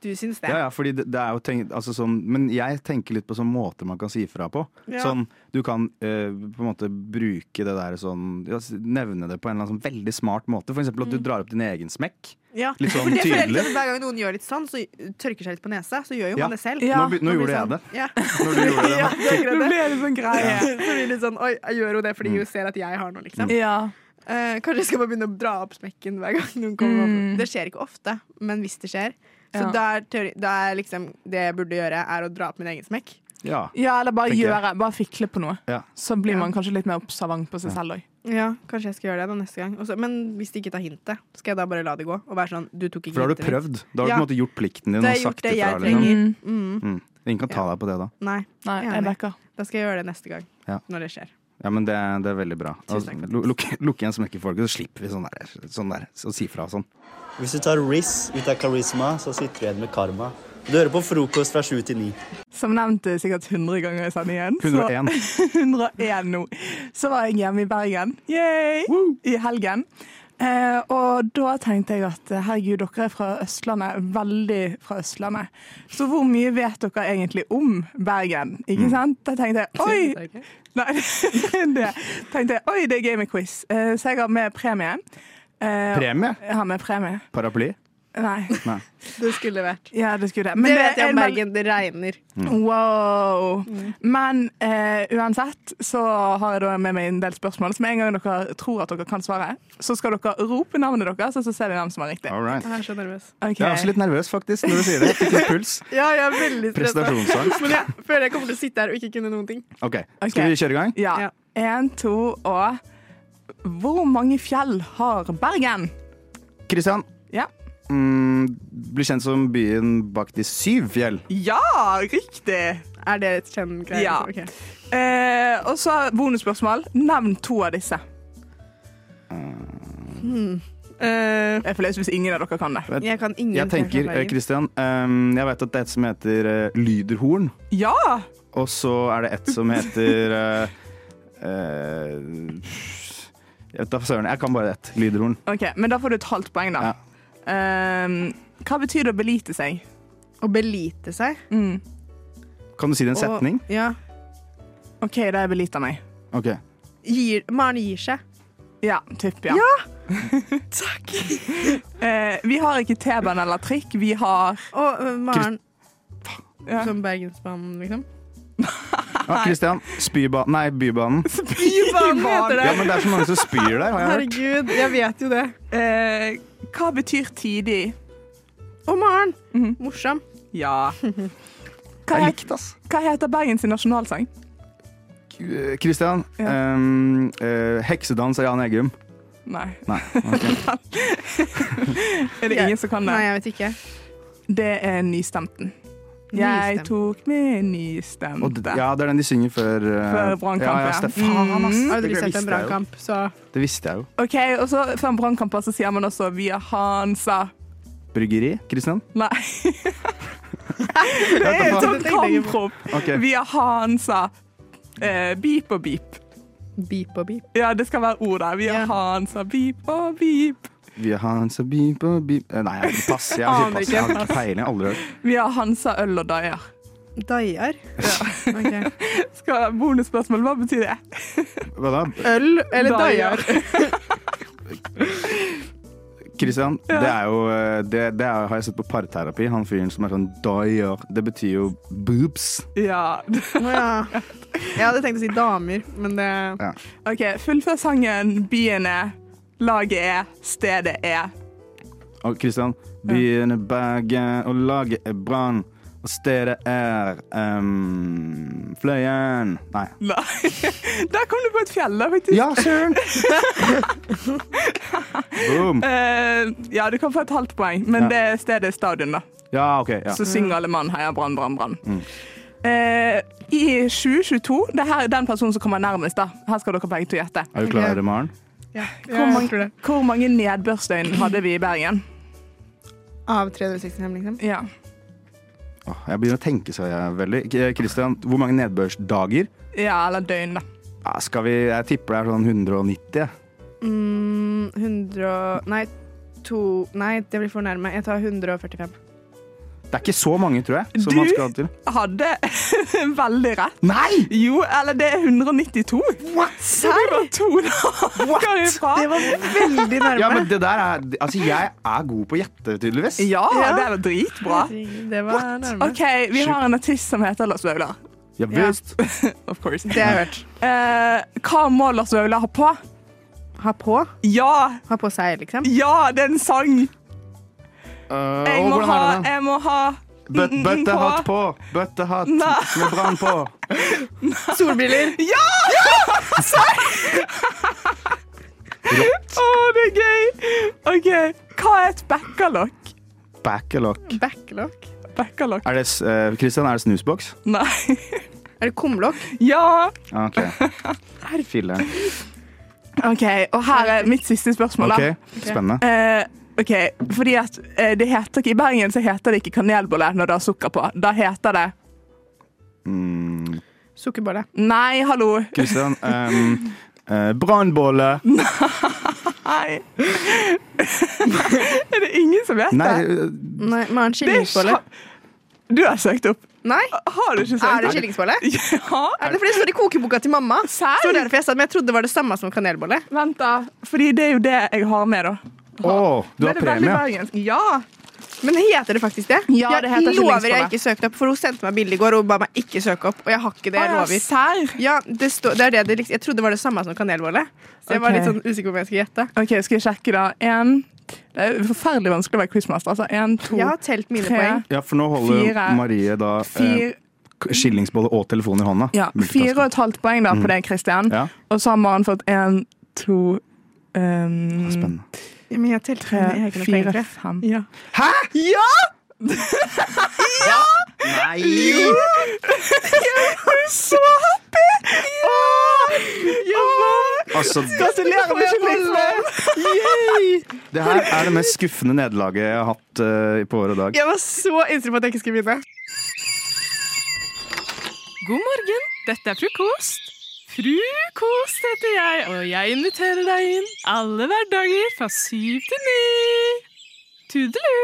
Speaker 11: Du syns det?
Speaker 9: Ja, ja, fordi det, det er jo tenk, altså sånn, Men jeg tenker litt på sånn måter man kan si ifra på.
Speaker 11: Ja.
Speaker 9: Sånn, Du kan eh, på en måte bruke det der sånn ja, s- Nevne det på en eller annen sånn veldig smart måte. For eksempel at du drar opp din egen smekk.
Speaker 11: Ja.
Speaker 9: Litt sånn
Speaker 11: For Mm. det føler jeg
Speaker 9: tydelig.
Speaker 11: litt at Hver gang noen gjør litt sånn, så tørker seg litt på nesa, så gjør jo
Speaker 9: Ja.
Speaker 11: man det selv.
Speaker 12: Ja.
Speaker 9: Nå, be- nå
Speaker 11: Og blir
Speaker 9: gjorde jeg
Speaker 11: sånn-
Speaker 9: det.
Speaker 11: Ja.
Speaker 9: Når du gjorde det.
Speaker 11: ja, det er
Speaker 12: Nå
Speaker 11: akkurat det.
Speaker 12: ble det sånn greie.
Speaker 11: Så blir det litt sånn Oi, jeg gjør jo det
Speaker 9: Mm.
Speaker 11: fordi hun ser at jeg har noe, liksom.
Speaker 12: Ja.
Speaker 11: Eh, kanskje jeg skal bare begynne å dra opp smekken hver gang noen kommer
Speaker 12: Mm.
Speaker 11: opp. Det skjer ikke ofte, men hvis det skjer. Så
Speaker 12: Ja.
Speaker 11: da er teori, da er liksom, det jeg burde gjøre, er å dra opp min egen smekk.
Speaker 9: Ja.
Speaker 12: ja, eller bare
Speaker 9: Tenker jeg.
Speaker 12: gjøre. Bare fikle på noe.
Speaker 9: Ja.
Speaker 12: Så blir
Speaker 11: Ja.
Speaker 12: man kanskje litt mer observant på seg selv òg.
Speaker 11: Ja, Kanskje jeg skal gjøre det da neste gang. Og så- men hvis de ikke tar hintet, skal jeg da bare la det gå? Og være sånn, du tok ikke
Speaker 9: For da har du
Speaker 11: hintet mitt.
Speaker 9: prøvd. Da har du
Speaker 11: Ja.
Speaker 9: på en måte gjort plikten
Speaker 11: Da
Speaker 9: din
Speaker 11: har
Speaker 9: og
Speaker 11: jeg gjort
Speaker 9: sagt
Speaker 11: det
Speaker 9: ifra.
Speaker 11: jeg
Speaker 9: Liksom.
Speaker 11: trenger.
Speaker 12: Mm.
Speaker 11: Mm.
Speaker 9: Mm. Ingen kan ta deg på det, da.
Speaker 11: Nei,
Speaker 12: Nei,
Speaker 11: Enig.
Speaker 12: jeg backer.
Speaker 11: da skal jeg gjøre det neste gang.
Speaker 9: Ja.
Speaker 11: Når det skjer.
Speaker 9: Ja, men Det, det er veldig bra.
Speaker 11: Tusen
Speaker 9: Altså,
Speaker 11: takk for det.
Speaker 9: lu- Lukk lukk igjen smekkefolket, så slipper vi sånn der. Sånn der så si fra og sånn.
Speaker 8: Hvis du tar Riz ut av karisma, så sitter du igjen med karma. Du hører på frokost fra sju til ni.
Speaker 12: Som nevnt eh, sikkert 100 ganger i sendingen. så-
Speaker 9: 101.
Speaker 12: 101 nå. Så var jeg hjemme i Bergen Yay! i helgen. Eh, og da tenkte jeg at eh, herregud, dere er fra Østlandet, veldig fra Østlandet. Så hvor mye vet dere egentlig om Bergen?
Speaker 9: Mm.
Speaker 12: Ikke sant? Da tenkte jeg oi! Nei, det tenkte jeg, oi, det er gøy med quiz. Eh, så jeg har med premie. Eh,
Speaker 9: Premie?
Speaker 12: Jeg har med premie.
Speaker 9: Paraply?
Speaker 12: Nei,
Speaker 9: Nei.
Speaker 11: Det skulle vært.
Speaker 12: ja, det skulle det. Men
Speaker 11: Det vet jeg
Speaker 12: er
Speaker 11: om
Speaker 12: en
Speaker 11: Bergen. Mm.
Speaker 12: veld-
Speaker 11: Det regner.
Speaker 12: Wow! Men eh, uansett så har jeg da med meg en del spørsmål. Så med en gang dere tror at dere kan svare, så skal dere rope navnet deres, og så ser vi hvem som har riktig.
Speaker 9: All right.
Speaker 11: Jeg er så nervøs.
Speaker 12: Ok.
Speaker 9: Jeg er også litt nervøs, faktisk, når du sier det. Jeg fikk litt puls.
Speaker 11: Ja, jeg er veldig stressa.
Speaker 9: Prestasjonsangst.
Speaker 11: Men jeg føler jeg kommer til å sitte her og ikke kunne noen ting.
Speaker 9: Ok,
Speaker 12: Ok.
Speaker 9: Skal vi kjøre i gang?
Speaker 12: Ja.
Speaker 11: Ja.
Speaker 12: Én, to og Hvor mange fjell har Bergen?
Speaker 9: Kristian
Speaker 12: Ja.
Speaker 9: mm, blir kjent som byen bak de syv fjell.
Speaker 12: Ja, riktig!
Speaker 11: Er det et kjenn-greie?
Speaker 12: Ja.
Speaker 11: Ok.
Speaker 12: Eh, og så bonusspørsmål. Nevn to av disse.
Speaker 11: Hmm. Eh,
Speaker 12: Jeg er flaut hvis ingen av dere kan det.
Speaker 11: jeg kan ingen
Speaker 9: Jeg tenker, eh, Kristian, ehm, jeg vet at det er et som heter eh, Lyderhorn,
Speaker 12: Ja!
Speaker 9: og så er det et som heter eh, eh, Jeg vet da søren, jeg kan bare ett. Lyderhorn.
Speaker 12: Ok, Men da får du et halvt poeng, da.
Speaker 9: Ja.
Speaker 12: Eh, hva betyr det å belite seg?
Speaker 11: Å belite seg.
Speaker 12: Mm.
Speaker 9: Kan du si det i en setning?
Speaker 11: Og, ja.
Speaker 12: OK, da er belita meg.
Speaker 9: Ok.
Speaker 11: Gir, Maren gir seg.
Speaker 12: Ja, typ, ja. Takk! eh, vi har ikke T-bane eller trikk. Vi har
Speaker 11: Og eh, Maren
Speaker 12: Ja.
Speaker 11: som Bergensbanen, liksom.
Speaker 9: Ja, Kristian, spyba... Nei, Bybanen.
Speaker 11: Bybanen heter
Speaker 9: Ja, men det er så mange som spyr der, har jeg hørt.
Speaker 11: Herregud, jeg vet jo det.
Speaker 12: eh, Hva betyr tidig?
Speaker 11: Og Maren!
Speaker 12: Mhm.
Speaker 11: Morsom.
Speaker 12: Ja. Hva,
Speaker 9: Jeg
Speaker 12: het,
Speaker 9: likte, ass.
Speaker 12: hva heter Bergens nasjonalsang?
Speaker 9: Eh, Kristian,
Speaker 12: Ja.
Speaker 9: ehm, eh, heksedans av Jan Eggum.
Speaker 12: Nei.
Speaker 9: Nei. ok.
Speaker 12: Er det
Speaker 11: Jeg-
Speaker 12: ingen som kan det?
Speaker 11: Nei, jeg vet ikke.
Speaker 12: Det er Nystemten. Jeg
Speaker 11: Nystemten.
Speaker 12: tok med
Speaker 9: Og d-
Speaker 12: nystemte.
Speaker 9: ja, det er den de synger før eh,
Speaker 12: Før brannkamp,
Speaker 9: Ja, ja,
Speaker 12: ja.
Speaker 9: Steff- faen, ass.
Speaker 11: Jeg har aldri
Speaker 9: Det
Speaker 11: sett
Speaker 9: visste
Speaker 11: en
Speaker 9: jeg jo.
Speaker 11: brannkamp, så
Speaker 9: Det visste jeg jo.
Speaker 12: OK, og så før en brannkamp så sier man også 'vi er Hansa'.
Speaker 9: Bryggeri, Kristian?
Speaker 12: Nei. Det er en sånn
Speaker 11: Det tenker jeg
Speaker 12: kamprop
Speaker 9: Ok.
Speaker 12: via Hansa. Eh, beep og beep.
Speaker 11: Beep og beep.
Speaker 12: Ja, det skal være ord der. Via Hansa, beep og beep.
Speaker 9: Vi har en så beep og beep Eh, Nei, jeg- pass. Jeg har
Speaker 12: Aner
Speaker 9: pass.
Speaker 12: ikke.
Speaker 9: Jeg har ikke peiling. Jeg har Aldri hørt.
Speaker 12: Via Hansa øl og daier.
Speaker 11: Daier. Ok.
Speaker 12: Skal bonusspørsmål, hva betyr det?
Speaker 9: Hva da?
Speaker 11: Øl eller daier?
Speaker 9: Christian, det er jo eh, Det, det er, har jeg sett på parterapi. Han fyren som er sånn daier. Det betyr jo boobs.
Speaker 12: Ja.
Speaker 11: Å ja. Jeg hadde tenkt å si damer, men det
Speaker 9: Ja.
Speaker 12: OK, fullfør sangen. Byen er, laget er, stedet er.
Speaker 9: Og Christian, byen er Bergen, og laget er Brann. Og stedet er ehm, Fløyen. Nei.
Speaker 12: Nei. Der kom du på et fjell, da, faktisk.
Speaker 9: Ja, søren! Boom.
Speaker 12: Eh, ja, du kan få et halvt poeng, men
Speaker 9: Ja.
Speaker 12: det stedet er stadion, da.
Speaker 9: Ja, OK. Ja. Mm.
Speaker 12: Så synger alle mann heia brann, brann, brann. Eh, I 2022 Det her er den personen som kommer nærmest, da. Her skal dere begge to gjette.
Speaker 9: Er du klar, Maren?
Speaker 11: ja.
Speaker 12: Hvor,
Speaker 11: Jeg
Speaker 12: mange-
Speaker 11: tror det.
Speaker 12: hvor mange nedbørsdøgn hadde vi i Bergen?
Speaker 11: Av 365, liksom.
Speaker 12: Ja.
Speaker 9: Åh, Jeg begynner å tenke så jeg veldig. K- eh, Christian, hvor mange nedbørsdager?
Speaker 12: ja, eller døgn, da.
Speaker 9: Ja, skal vi, jeg tipper det er sånn 190. jeg.
Speaker 11: Mm, 100 og- Nei, to Nei, det blir for nærme. Jeg tar 145.
Speaker 9: Det er ikke så mange, tror jeg. Som
Speaker 12: Du-
Speaker 9: man skal til.
Speaker 12: Hadde veldig rett.
Speaker 9: Nei!
Speaker 12: Jo, eller det er 192. What? Så du var to dager ifra.
Speaker 11: Det var veldig nærme.
Speaker 9: Ja, men det der er Altså, jeg er god på å gjette, tydeligvis.
Speaker 12: Ja,
Speaker 11: Ja.
Speaker 12: det er jo dritbra.
Speaker 11: Det var nærme.
Speaker 12: OK, vi har en artist som heter Lars Vaular.
Speaker 9: Ja visst.
Speaker 12: Of course.
Speaker 11: Det har jeg hørt.
Speaker 12: Eh, hva må Lars Vaular ha på?
Speaker 11: Ha på.
Speaker 12: Ja!
Speaker 11: Ha på seg, liksom.
Speaker 12: Ja, det er en sang!
Speaker 9: Øh,
Speaker 12: Jeg
Speaker 9: og
Speaker 12: må
Speaker 9: hvordan
Speaker 12: ha,
Speaker 9: er det da?
Speaker 12: jeg må ha
Speaker 9: Bøt,
Speaker 12: mm,
Speaker 9: bøttehatt på! Bøttehatt
Speaker 12: Nei.
Speaker 9: med brann på.
Speaker 11: Solbriller.
Speaker 12: Ja! Å, det er gøy! OK, hva er et backerlock?
Speaker 9: Backerlock.
Speaker 11: Backlock.
Speaker 12: Backerlock?
Speaker 9: Er det, s- eh, Christian, er det snusboks?
Speaker 12: Nei.
Speaker 11: Er det kumlokk?
Speaker 12: Ja!
Speaker 9: Ah, OK. Her filler'n.
Speaker 12: OK, og her er mitt siste spørsmål, da.
Speaker 9: OK, spennende.
Speaker 12: Eh, OK, fordi at eh, det heter ikke I Bergen så heter det ikke kanelbolle når det har sukker på. Da heter det
Speaker 9: Mm,
Speaker 11: Sukkerbolle.
Speaker 12: Nei, hallo.
Speaker 9: Christian. Um, Brannbolle.
Speaker 12: Nei. er det ingen som vet
Speaker 9: Nei,
Speaker 12: det?
Speaker 9: eh,
Speaker 11: Nei, Maren,
Speaker 12: Det er
Speaker 11: skillingsbolle.
Speaker 12: sja- Du har søkt opp.
Speaker 11: Nei,
Speaker 12: Har du ikke søkt
Speaker 11: er det
Speaker 12: opp?
Speaker 11: skillingsbolle?
Speaker 12: Ja.
Speaker 11: Er det fordi det står i kokeboka til mamma? Så det var derfor jeg sa det, men jeg trodde det var det samme som kanelbolle.
Speaker 12: Vent, da. Fordi det er jo det jeg har med, da.
Speaker 9: Å, du
Speaker 12: Men
Speaker 9: har
Speaker 12: det er veldig
Speaker 9: premie.
Speaker 12: bergensk. Ja.
Speaker 11: Men heter det faktisk det?
Speaker 12: Ja, det heter
Speaker 11: jeg lover jeg
Speaker 12: skillingsbolle.
Speaker 11: ikke søkte opp, for hun sendte meg bilde i går og ba meg ikke søke opp. Og jeg har ikke det, jeg
Speaker 12: Å, ja,
Speaker 11: lover.
Speaker 12: Serr.
Speaker 11: Ja, det står- det er det det liksom Jeg trodde det var det samme som kanelbolle. Så jeg var
Speaker 12: Ok.
Speaker 11: litt sånn usikker på om jeg skulle gjette.
Speaker 12: OK, skal jeg sjekke, da. En Det er forferdelig vanskelig å være quizmaster. Altså én, to,
Speaker 11: Jeg har telt mine
Speaker 12: tre,
Speaker 11: poeng.
Speaker 9: Ja, for nå holder
Speaker 12: Fire.
Speaker 9: Marie da eh,
Speaker 12: fire
Speaker 9: skillingsbolle og telefon i hånda.
Speaker 12: Ja, fire og et halvt poeng da på deg, Kristian.
Speaker 9: Mm. Ja, Ah,
Speaker 12: Og så har Maren fått én, to ehm,
Speaker 9: spennende.
Speaker 11: Ja, Men jeg telte
Speaker 12: tre,
Speaker 11: mine egne poeng, tror
Speaker 12: fire,
Speaker 11: jeg.
Speaker 12: fem.
Speaker 11: Ja.
Speaker 9: Hæ?!
Speaker 12: Ja!
Speaker 9: Nei!
Speaker 12: Du er så happy! Åh! Åh!
Speaker 9: Altså,
Speaker 12: Gratulerer med skillingsbolle!
Speaker 9: det her er det mest skuffende nederlaget jeg har hatt eh, på våre dag.
Speaker 11: Jeg var så innstilt på at jeg ikke skulle vinne.
Speaker 13: God morgen, dette er frokost. Frukost heter jeg, og jeg inviterer deg inn alle hverdager fra syv til ni. Tudelu!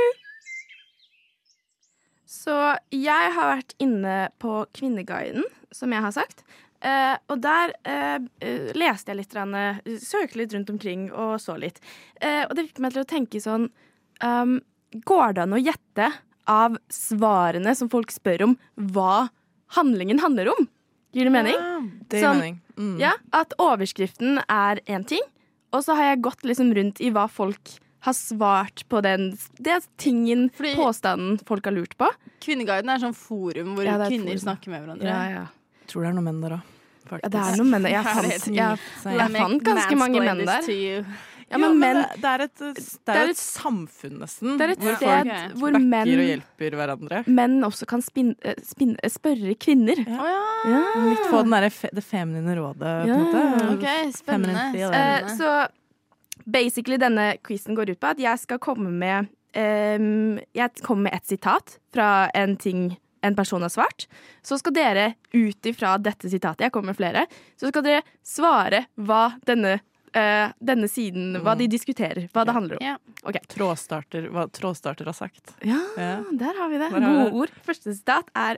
Speaker 2: Så jeg har vært inne på Kvinneguiden, som jeg har sagt. Eh, og der eh, eh, leste jeg litt, grann, eh, søkte litt rundt omkring og så litt. Eh, og det fikk meg til å tenke sånn ehm, Går det an å gjette av svarene som folk spør om, hva handlingen handler om? Gir det mening?
Speaker 13: Det gir
Speaker 2: Sånn,
Speaker 13: mening. Mm.
Speaker 2: Ja, At overskriften er én ting, og så har jeg gått liksom rundt i hva folk har svart på den det er tingen,
Speaker 13: Fordi-
Speaker 2: påstanden folk har lurt på.
Speaker 13: Kvinneguiden er sånn forum hvor
Speaker 2: Ja, det er et
Speaker 13: kvinner
Speaker 2: forum.
Speaker 13: snakker med hverandre.
Speaker 2: ja.
Speaker 1: Jeg tror det er noen menn der òg.
Speaker 2: Ja, det er noen menn der. Jeg fant, jeg, jeg fant ganske mange menn der. Ja,
Speaker 1: Ja,
Speaker 2: men
Speaker 1: men,
Speaker 2: menn
Speaker 1: det, det er et, det er jo et samfunn, nesten.
Speaker 2: det er et
Speaker 1: hvor
Speaker 2: sted
Speaker 1: folk
Speaker 2: hvor
Speaker 1: backer
Speaker 2: menn-
Speaker 1: og hjelper hverandre.
Speaker 2: Menn også kan spin, eh, spin, eh, spørre kvinner. Ja.
Speaker 1: Litt på den derre fe, det feminine rådet, på
Speaker 2: Ja.
Speaker 1: en måte.
Speaker 13: Ok,
Speaker 1: Feminine
Speaker 13: spennende.
Speaker 1: feel,
Speaker 13: Eh,
Speaker 1: ja.
Speaker 2: Eh, Så basically denne quizen går ut på at jeg skal komme med ehm, Jeg kommer med et sitat fra en ting en person har svart. Så skal dere ut ifra dette sitatet, jeg kommer med flere, så skal dere svare hva denne, eh, denne siden Hva
Speaker 1: Mm.
Speaker 2: de diskuterer. Hva det handler om. Ok.
Speaker 1: Trådstarter, hva trådstarter har sagt.
Speaker 2: Ja, der har vi det.
Speaker 1: Der har vi
Speaker 2: Gode
Speaker 1: det.
Speaker 2: ord. Første sitat er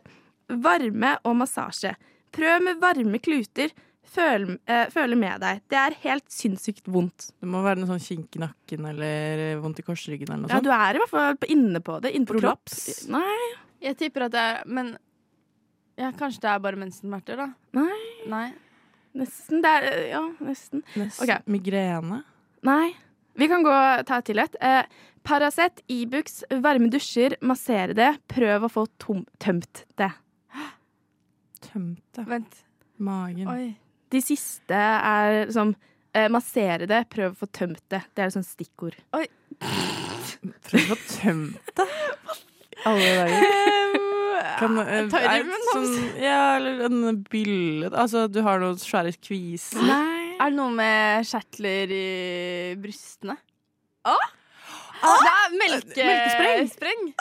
Speaker 2: varme og massasje. Prøv med varme kluter. Føl, eh, føle med deg. Det er helt sinnssykt vondt.
Speaker 1: Det må være noe sånn kink i nakken eller vondt i korsryggen eller noe
Speaker 2: Ja,
Speaker 1: sånt.
Speaker 2: du er i hvert fall på- inne på det. Inne på
Speaker 1: Prolaps?
Speaker 2: kropp. Nei.
Speaker 14: Jeg tipper at det er Men ja, kanskje det er bare mensensmerter, da.
Speaker 2: Nei.
Speaker 14: Nei.
Speaker 2: Nesten. Det er Ja, nesten.
Speaker 1: Nesten.
Speaker 2: Ok.
Speaker 1: Migrene.
Speaker 2: Nei. Vi kan gå ta til et. Eh, Paracet, Ibux, varme dusjer, massere det. Prøv å få tom tømt det.
Speaker 1: Tømte.
Speaker 14: Vent.
Speaker 1: Magen.
Speaker 2: De siste er liksom eh, massere det, prøv å få tømt det. Det er et sånt stikkord.
Speaker 14: Oi.
Speaker 1: Prøv å tømme det. Alle dager. Kan, eh,
Speaker 14: Ta i rømmen,
Speaker 1: er det
Speaker 14: da, hvis-
Speaker 1: sånn, ja, eller en bylle Altså, du har noen svære kviser.
Speaker 14: Er det noe med kjertler i brystene? Ah! Det er melke...
Speaker 2: Eh, Melkespreng.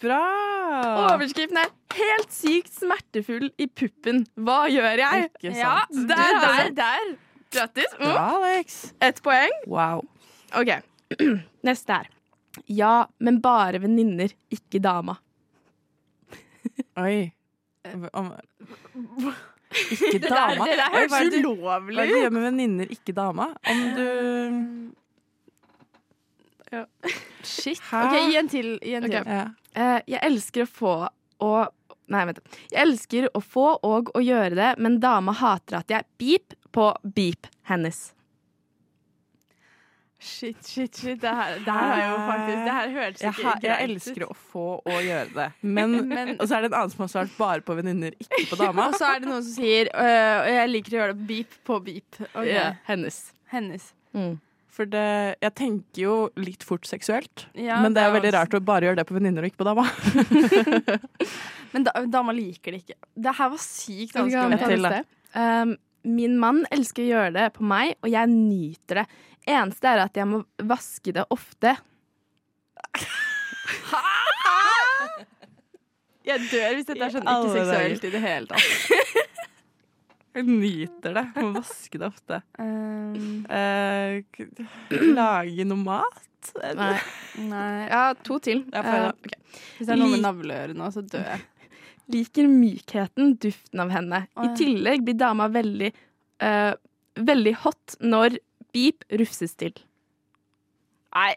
Speaker 1: Bra!
Speaker 2: Overskriften er 'Helt sykt smertefull i puppen. Hva gjør jeg?'
Speaker 1: Ikke sant. altså-
Speaker 2: Ja, der, der, der. Grattis. Mm.
Speaker 1: Bra, Alex.
Speaker 2: Ett poeng.
Speaker 1: Wow.
Speaker 2: OK. Neste er Ja, men bare venninner, ikke dama.
Speaker 1: Oi.
Speaker 14: Eh,
Speaker 1: Om,
Speaker 2: Ikke
Speaker 1: ikke dama.
Speaker 2: Det der,
Speaker 1: Oi,
Speaker 2: det
Speaker 1: hva er
Speaker 2: der høres
Speaker 1: det du- Hva
Speaker 2: ulovlig
Speaker 1: er det du gjør
Speaker 2: ut.
Speaker 1: med venninner, ikke dama? Om
Speaker 14: Eh,
Speaker 1: du
Speaker 14: Ja.
Speaker 2: Shit.
Speaker 14: Hæ? OK, gi en til. Gi en
Speaker 2: Ok.
Speaker 14: til.
Speaker 2: Eh, jeg elsker å få og Nei, vent. Jeg elsker å få og å gjøre det, men dama hater at jeg beep på beep hennes.
Speaker 14: Shit, shit, shit. Det her, det her er jo
Speaker 2: Ah.
Speaker 14: faktisk Det her hørtes
Speaker 1: jeg,
Speaker 14: ikke
Speaker 1: ha- jeg
Speaker 14: greit
Speaker 1: elsker
Speaker 14: ut.
Speaker 1: å få og gjøre det. Men,
Speaker 14: Men-
Speaker 1: og så er det en annen som har svart bare på venninner, ikke på dama.
Speaker 14: Og så er det noen som sier «Øh, Jeg liker å gjøre det beep på beep. Ok.
Speaker 1: Ja,
Speaker 2: hennes.
Speaker 14: Hennes.
Speaker 1: For det, jeg tenker jo litt fort seksuelt,
Speaker 14: Ja,
Speaker 1: men det er jo
Speaker 14: det er
Speaker 1: veldig rart å bare gjøre det på venninner og ikke på dama.
Speaker 14: Men da, dama liker det ikke. Det her var sykt
Speaker 2: Skal vi
Speaker 14: vanskelig.
Speaker 2: ta
Speaker 1: Et til, da.
Speaker 2: neste? Um, min mann elsker å gjøre det på meg, og jeg nyter det. Eneste er at jeg må vaske det ofte.
Speaker 14: Jeg dør hvis dette er sånn
Speaker 1: I alle
Speaker 14: ikke seksuelt
Speaker 1: dager.
Speaker 14: i det hele tatt.
Speaker 1: Jeg nyter det. Må vaske det ofte.
Speaker 14: Um,
Speaker 1: Eh, k- lage noe mat?
Speaker 2: Nei. Nei. Ja, to til.
Speaker 14: Ja, få høre.
Speaker 2: Eh, ok.
Speaker 14: Hvis det er noe med
Speaker 2: Lik-
Speaker 14: navleøre nå, så dør jeg.
Speaker 2: Liker mykheten, duften av henne.
Speaker 14: Å, ja.
Speaker 2: I tillegg blir dama veldig eh, Veldig hot når beep rufses til.
Speaker 14: Nei,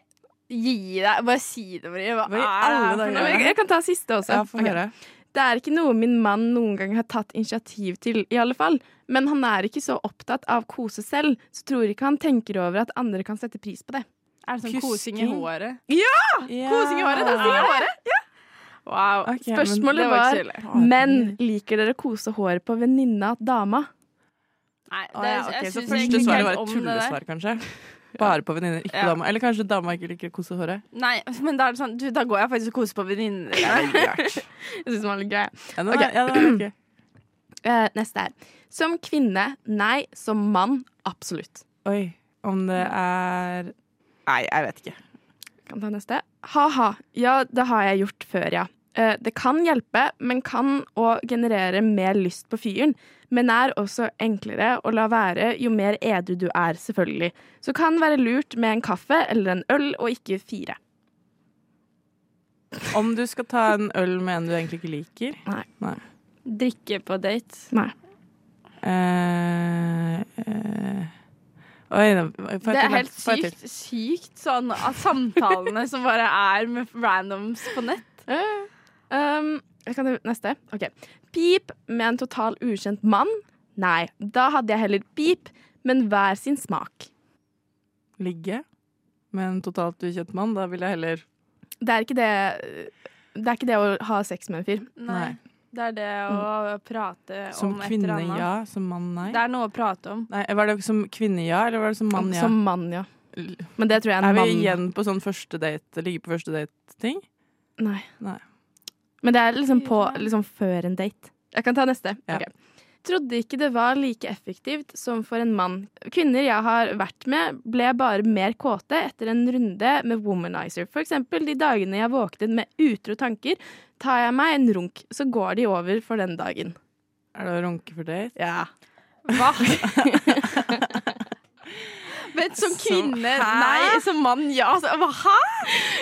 Speaker 14: gi deg. Bare si det, Marie. Hva,
Speaker 2: Hva i
Speaker 14: er
Speaker 2: alle
Speaker 14: det her for
Speaker 2: dager?
Speaker 14: noe?
Speaker 2: Jeg- jeg kan ta siste også.
Speaker 1: Ja, få
Speaker 2: Ok.
Speaker 1: høre.
Speaker 2: Det er ikke noe min mann noen gang har tatt initiativ til, i alle fall. Men han er ikke så opptatt av kose selv, så tror ikke han tenker over at andre kan sette pris på det.
Speaker 14: Er det sånn kosing i håret?
Speaker 2: Ja!
Speaker 1: Ja.
Speaker 2: Kosing i håret! Det er kosing i håret! Ja.
Speaker 14: Wow.
Speaker 2: Spørsmålet
Speaker 14: det var
Speaker 2: var,
Speaker 14: ikke så ille.
Speaker 2: men liker dere kose håret på venninna dama?
Speaker 14: Nei,
Speaker 1: Å,
Speaker 14: det,
Speaker 1: ja, ok,
Speaker 14: jeg
Speaker 1: så
Speaker 14: syns
Speaker 1: første
Speaker 14: egentlig ikke
Speaker 1: svaret
Speaker 14: helt
Speaker 1: var et
Speaker 14: om det der.
Speaker 1: tullesvar, kanskje? Bare på venninner, ikke på
Speaker 14: Ja.
Speaker 1: dama. Eller kanskje dama ikke liker å kose håret?
Speaker 14: Nei, men da er det sånn du, Da går jeg faktisk og koser på venninner. jeg
Speaker 2: syns den var litt grei.
Speaker 1: Ja, den
Speaker 2: Ok.
Speaker 1: er- ja, den er ok.
Speaker 2: Eh, neste er Som kvinne, nei. Som mann, absolutt.
Speaker 1: Oi, om det er Nei, jeg vet ikke.
Speaker 2: Kan ta neste. Ha-ha. Ja, det har jeg gjort før, ja. Eh, Det kan hjelpe, men kan òg generere mer lyst på fyren. Men er også enklere å la være jo mer edru du er, selvfølgelig. Så kan være lurt med en kaffe eller en øl, og ikke fire.
Speaker 1: Om du skal ta en øl med en du egentlig ikke liker?
Speaker 2: Nei.
Speaker 14: Drikke på date.
Speaker 2: Nei.
Speaker 1: Eh, eh. Oi, nå- får jeg
Speaker 14: Det
Speaker 1: til,
Speaker 14: er
Speaker 1: da?
Speaker 14: helt
Speaker 1: Får jeg til?
Speaker 14: sykt, sykt sånn at samtalene som bare er med randoms på nett.
Speaker 2: Um, jeg kan ta neste. Ok. Pip med en total ukjent mann. Nei, da hadde jeg heller pip, men hver sin smak.
Speaker 1: Ligge med en totalt ukjent mann? Da vil jeg heller
Speaker 2: Det er ikke det Det er ikke det å ha sex med en fyr. Mm.
Speaker 1: Nei.
Speaker 14: Det er det å prate
Speaker 1: Som
Speaker 14: om et eller
Speaker 1: kvinne
Speaker 14: annet.
Speaker 1: ja, som mann nei.
Speaker 14: Det er noe å prate om.
Speaker 1: nei. Var det som kvinne ja, eller var det som mann ja?
Speaker 2: Som mann, ja. Men det tror jeg er
Speaker 1: Er
Speaker 2: en
Speaker 1: vi
Speaker 2: mann.
Speaker 1: igjen på sånn første date, ligge på første date-ting?
Speaker 2: Nei.
Speaker 1: Nei.
Speaker 2: Men det er liksom på liksom før en date. Jeg kan ta neste.
Speaker 1: Ja.
Speaker 2: Ok. trodde ikke det var like effektivt som for en mann. Kvinner jeg har vært med, ble bare mer kåte etter en runde med womanizer. For eksempel de dagene jeg våknet med utro tanker, tar jeg meg en runk, så går de over for den dagen.
Speaker 1: Er det å runke for date?
Speaker 2: Ja. Hva? Men som kvinne,
Speaker 14: hæ?
Speaker 2: nei. Som mann, ja. Så, hva, hæ?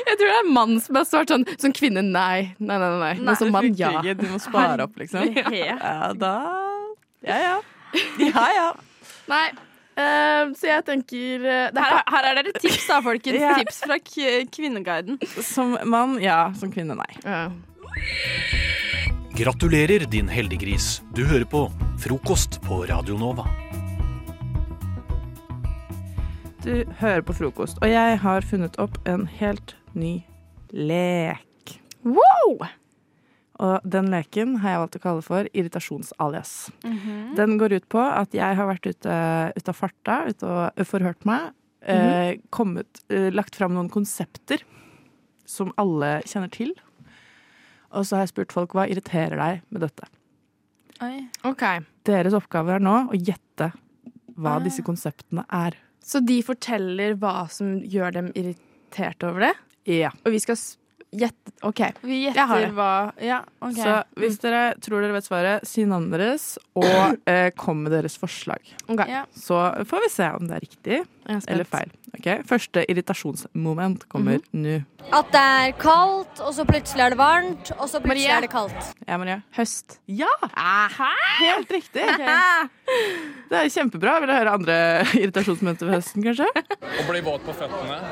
Speaker 2: Jeg tror det er en mann som har svart sånn. Som kvinne, nei. Nei, nei, nei. nei. Men som mann, ja.
Speaker 1: Ikke, du må spare opp, liksom.
Speaker 2: Herregud.
Speaker 1: Ja, da Ja, ja. Ja, ja.
Speaker 2: Nei. eh, så jeg tenker eh, det
Speaker 14: Her,
Speaker 2: her,
Speaker 14: er- her er dere tips, da, folkens.
Speaker 1: Ja.
Speaker 14: Tips fra K- Kvinneguiden.
Speaker 1: Som mann, ja. Som kvinne, nei.
Speaker 15: Gratulerer, din heldiggris. Du hører på Frokost på Radio Nova.
Speaker 1: Du hører på frokost, og jeg har funnet opp en helt ny lek. Wow! Og den leken har jeg valgt å kalle for irritasjonsalias.
Speaker 13: Mhm.
Speaker 1: Den går ut på at jeg har vært ute, ute av farta, ute og forhørt meg, eh, kommet, eh, lagt fram noen konsepter som alle kjenner til. Og så har jeg spurt folk hva irriterer deg med dette. Deres oppgave er nå å gjette hva
Speaker 2: Ah.
Speaker 1: disse konseptene er.
Speaker 2: Så de forteller hva som gjør dem irritert over det?
Speaker 1: Ja.
Speaker 2: Og vi skal s- gjette OK.
Speaker 14: Vi
Speaker 2: Jeg har
Speaker 14: gjetter
Speaker 2: det.
Speaker 14: hva Ja, OK.
Speaker 1: Så hvis dere tror dere vet svaret, si navnet deres, og eh, kom med deres forslag.
Speaker 14: Ok. Ja.
Speaker 1: Så får vi se om det er riktig
Speaker 14: Jeg er spent.
Speaker 1: eller feil. Ok, Første irritasjonsmoment kommer
Speaker 14: Mhm.
Speaker 1: nå.
Speaker 16: At det er kaldt, og så plutselig er det varmt, og så plutselig
Speaker 1: Marie.
Speaker 16: er det kaldt.
Speaker 1: Ja, Maria?
Speaker 2: Høst.
Speaker 1: Ja! Helt riktig. Det er kjempebra. Vil du høre andre irritasjonsmomenter ved høsten, kanskje?
Speaker 7: Å bli våt på føttene.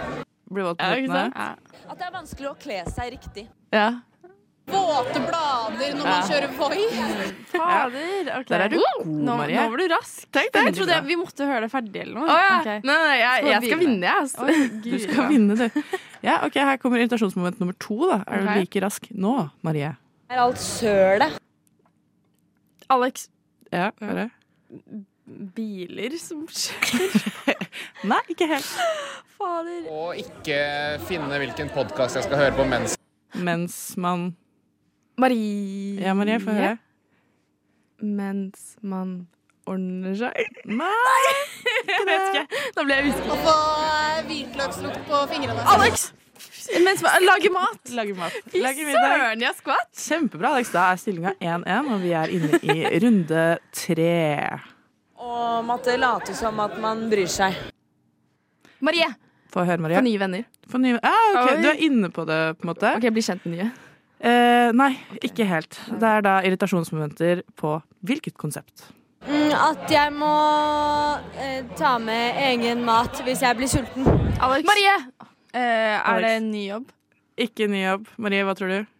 Speaker 1: Blir våt på
Speaker 7: Ja, ikke sant?
Speaker 1: føttene.
Speaker 5: At det er vanskelig å kle seg riktig.
Speaker 1: Ja.
Speaker 5: Våte blader når man
Speaker 14: Ja.
Speaker 5: kjører Voi.
Speaker 14: Fader. ok.
Speaker 1: Der er du
Speaker 14: Wow.
Speaker 1: god,
Speaker 14: nå,
Speaker 1: Marie.
Speaker 14: Nå var du rask.
Speaker 1: Tenk det.
Speaker 14: jeg trodde jeg, vi måtte høre det ferdig eller noe.
Speaker 2: Å, ja.
Speaker 14: Ok.
Speaker 2: Nei, nei, jeg- jeg skal vinne, jeg, altså.
Speaker 14: Oi,
Speaker 1: Du
Speaker 14: Gud.
Speaker 1: skal vinne, du. Ja, ok, Her kommer irritasjonsmoment nummer to. da. Er
Speaker 16: Ok.
Speaker 1: du like rask nå, Marie?
Speaker 16: Er alt sølet?
Speaker 14: Alex,
Speaker 1: Ja, Marie?
Speaker 14: biler som kjører
Speaker 1: Nei, ikke helt.
Speaker 14: Fader.
Speaker 7: Og ikke finne hvilken podkast jeg skal høre på mens
Speaker 1: Mens man
Speaker 2: Marie
Speaker 1: Ja, Marie, få høre.
Speaker 2: Mens man ordner seg.
Speaker 1: Nei!
Speaker 2: Jeg vet ikke. Da ble jeg usikker.
Speaker 5: Og få eh, hvitløkslukt på fingrene.
Speaker 2: Alex! Mens man lager mat.
Speaker 1: Lager mat.
Speaker 2: Fy
Speaker 1: Lager middag.
Speaker 2: søren, jeg skvatt.
Speaker 1: Kjempebra, Alex. Da er stillinga 1-1, og vi er inne i runde tre.
Speaker 5: Om at det later som at man bryr seg.
Speaker 2: Marie.
Speaker 1: Få høre, Maria.
Speaker 2: Få nye venner.
Speaker 1: Få nye- Ah, ok,
Speaker 2: Oi.
Speaker 1: Du er inne på det, på en måte.
Speaker 2: Ok, Bli kjent med nye.
Speaker 1: Eh, nei, ikke helt. Det er da irritasjonsmomenter på hvilket konsept.
Speaker 16: Mm, At jeg må eh, ta med egen mat hvis jeg blir sulten.
Speaker 14: Alex. Marie! er det en ny jobb?
Speaker 1: Ikke ny jobb. Marie, hva tror du?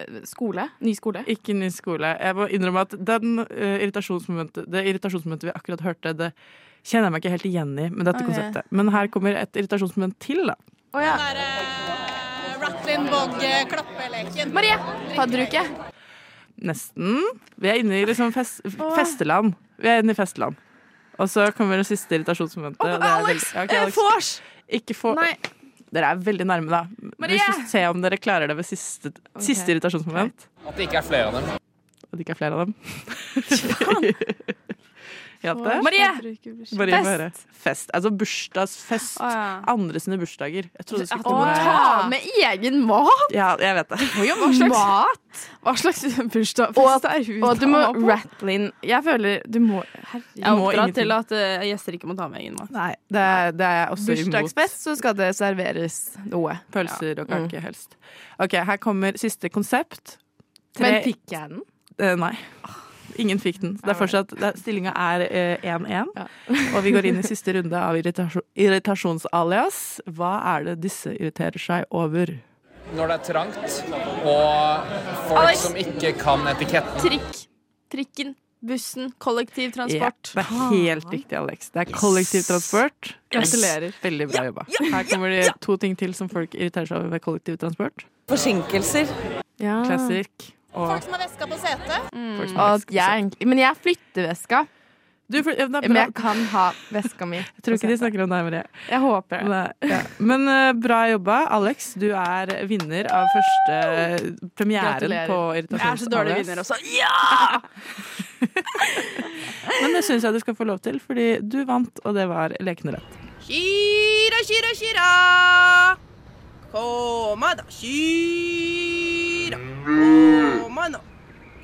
Speaker 14: eh, Skole? Ny skole?
Speaker 1: Ikke ny skole. Jeg må innrømme at den, eh, irritasjonsmomentet, det irritasjonsmomentet vi akkurat hørte, det kjenner jeg meg ikke helt igjen i med dette
Speaker 5: Ok.
Speaker 1: konseptet. Men her kommer et irritasjonsmoment til, da.
Speaker 5: Oh, ja. Den derre Rattlin Bog-klappeleken.
Speaker 14: Marie! Fadderuke.
Speaker 1: Nesten. Vi er inne i liksom fest, festeland. Vi er inne i festeland. Og så kommer det siste irritasjonsmomentet. og det er
Speaker 14: Alex!
Speaker 1: veldig- Ja, ok,
Speaker 14: Eh,
Speaker 1: Alex.
Speaker 14: vors!
Speaker 1: Ikke for...
Speaker 14: Nei.
Speaker 1: Dere er veldig nærme, da.
Speaker 14: Marie!
Speaker 1: Vi skal se om dere klarer det ved siste, siste irritasjonsmoment.
Speaker 7: At det ikke er flere av dem.
Speaker 1: At det ikke er flere av dem. Hjalp det?
Speaker 14: Marie!
Speaker 1: Marie
Speaker 14: Fest.
Speaker 1: må høre. Fest. Altså bursdagsfest.
Speaker 14: Å, ja.
Speaker 1: Andre sine bursdager. Jeg trodde du
Speaker 14: At
Speaker 1: skulle
Speaker 14: du må ta med egen mat!
Speaker 1: Ja, jeg vet det.
Speaker 14: Hva slags mat? Hva slags bursdagsfest er hun?
Speaker 2: Og du må
Speaker 14: tar med på?
Speaker 2: rattle inn. Jeg føler du må Herregud.
Speaker 14: Jeg er oppdratt til at eh, gjester ikke må ta med egen mat.
Speaker 1: Nei, det er, det er jeg også imot.
Speaker 14: Bursdagsfest, så skal det serveres noe.
Speaker 1: Pølser og kake,
Speaker 14: Mm.
Speaker 1: helst. OK, her kommer siste konsept.
Speaker 14: Men
Speaker 1: Tre-
Speaker 14: fikk jeg den? Ah.
Speaker 1: Eh, nei. Ingen fikk den. Det er fortsatt, det er, stillinga er eh, 1-1. Og vi går inn i siste runde av irritasjon, irritasjonsalias. Hva er det disse irriterer seg over?
Speaker 7: Når det er trangt, og folk
Speaker 14: Alex.
Speaker 7: som ikke kan etiketten.
Speaker 14: Trikk. Trikken, bussen,
Speaker 1: Ja,
Speaker 14: kollektivtransport.
Speaker 1: det er helt riktig, Alex. Det er kollektivtransport.
Speaker 14: Gratulerer.
Speaker 1: Veldig bra jobba. Her kommer det to ting til som folk irriterer seg over ved kollektivtransport.
Speaker 5: Forsinkelser.
Speaker 2: Ja.
Speaker 1: Classic. Og
Speaker 5: Ah.
Speaker 1: Mm.
Speaker 5: Folk som har veska på setet.
Speaker 1: Folk som
Speaker 2: Og at jeg, egentlig- men jeg har flytteveska. men jeg kan ha veska mi.
Speaker 1: jeg tror ikke de snakker om deg, Marie.
Speaker 2: Jeg håper det.
Speaker 1: Nei, ja. Men eh, bra jobba, Alex. Du er vinner av første premieren på
Speaker 14: Gratulerer.
Speaker 1: Irritasjonsalias.
Speaker 14: Jeg er så dårlig vinner også. Ja!
Speaker 1: Men det syns jeg du skal få lov til, fordi du vant, og det var lekende lett.
Speaker 5: Shira, shira, shira. Koma da, shira. Koma nå.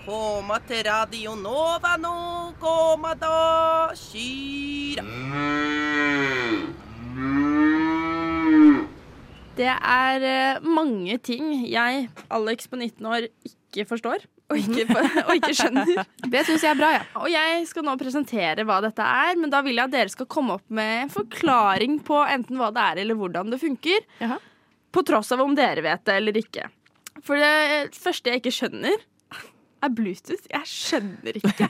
Speaker 5: Koma til Radio Nova nå. Koma da, shira.
Speaker 2: Det er eh, mange ting jeg, Alex på 19 år, ikke forstår. Og ikke, for- og ikke skjønner. Det syns jeg er bra, ja. Og jeg skal nå presentere hva dette er, men da vil jeg at dere skal komme opp med en forklaring på enten hva det er eller hvordan det funker. På tross av om dere vet det eller ikke. For det første jeg ikke skjønner, er Bluetooth. Jeg skjønner ikke.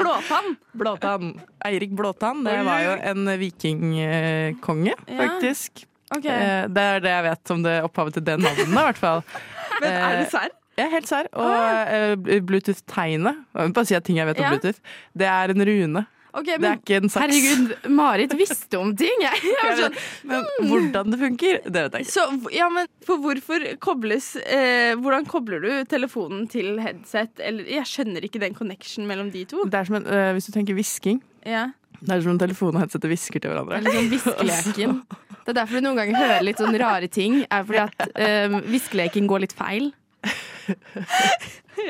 Speaker 2: Blåtann.
Speaker 1: Blåtann. Eirik Blåtann, det var jo en vikingkonge,
Speaker 2: Ja.
Speaker 1: faktisk.
Speaker 2: Ok.
Speaker 1: Eh, Det er det jeg vet om det opphavet til det navnet, i hvert fall.
Speaker 2: Men er du
Speaker 1: Eh,
Speaker 2: serr?
Speaker 1: Jeg er helt serr. Og eh, Bluetooth-tegnet, jeg må bare si at ting jeg vet om
Speaker 2: Ja.
Speaker 1: Bluetooth, det er en rune.
Speaker 2: Ok,
Speaker 1: Det er
Speaker 2: men-
Speaker 1: ikke en saks.
Speaker 2: Herregud, Marit visste om ting. Jeg, jeg var sånn,
Speaker 1: Men hvordan det funker, det vet jeg ikke.
Speaker 2: Så, ja, men for hvorfor kobles eh, Hvordan kobler du telefonen til headset? Eller, jeg skjønner ikke den connection mellom de to.
Speaker 1: Det er som en, eh, hvis du tenker hvisking,
Speaker 2: Ja.
Speaker 1: det er som en telefon og headsetet hvisker til
Speaker 12: Det
Speaker 1: hverandre.
Speaker 12: er litt sånn viskeleken. Det er derfor du noen ganger hører litt sånn rare ting. Er fordi at eh, viskeleken går litt feil.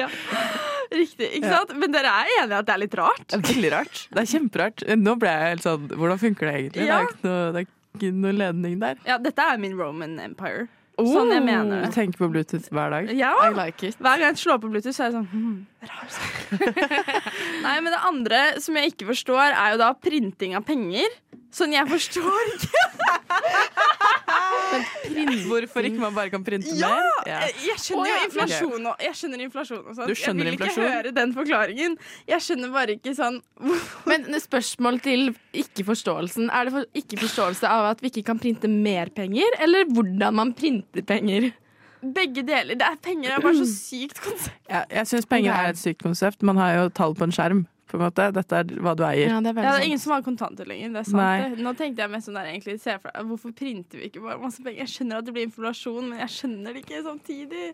Speaker 2: ja. Riktig. ikke
Speaker 1: Ja.
Speaker 2: sant? Men dere er enige at det er litt rart?
Speaker 1: Det er veldig rart. Det er kjemperart. Nå ble jeg helt sånn Hvordan funker det egentlig?
Speaker 2: Ja.
Speaker 1: Det, er ikke noe, det er ikke noe ledning der.
Speaker 2: Ja, dette er min Roman Empire. sånn jeg mener
Speaker 1: Du
Speaker 2: det.
Speaker 1: tenker på Bluetooth hver dag?
Speaker 2: Ja. Hver gang jeg slår på Bluetooth, så er jeg sånn hmm, rar sak. Nei, men det andre som jeg ikke forstår, er jo da printing av penger. Sånn jeg forstår ikke.
Speaker 1: Hvorfor ikke man bare kan printe
Speaker 2: Ja!
Speaker 1: mer?
Speaker 2: Jeg, jeg skjønner jo inflasjon og Jeg skjønner inflasjon og sånt.
Speaker 1: Du skjønner
Speaker 2: jeg vil
Speaker 1: inflasjon?
Speaker 2: ikke høre den forklaringen. Jeg skjønner bare ikke sånn
Speaker 12: Men spørsmål til ikke-forståelsen. Er det for, ikke-forståelse av at vi ikke kan printe mer penger, eller hvordan man printer penger?
Speaker 2: Begge deler. Det er penger. Det er bare så sykt konsept.
Speaker 1: Ja, jeg syns penger er et sykt konsept. Man har jo tall på en skjerm. På en måte. Dette er hva du eier.
Speaker 2: Ja, det er ingen som har kontanter lenger. Det er sant.
Speaker 1: Nei.
Speaker 2: det. Nå tenkte jeg mest sånn der egentlig se for, deg, Hvorfor printer vi ikke bare masse penger? Jeg skjønner at det blir inflasjon, men jeg skjønner det ikke samtidig.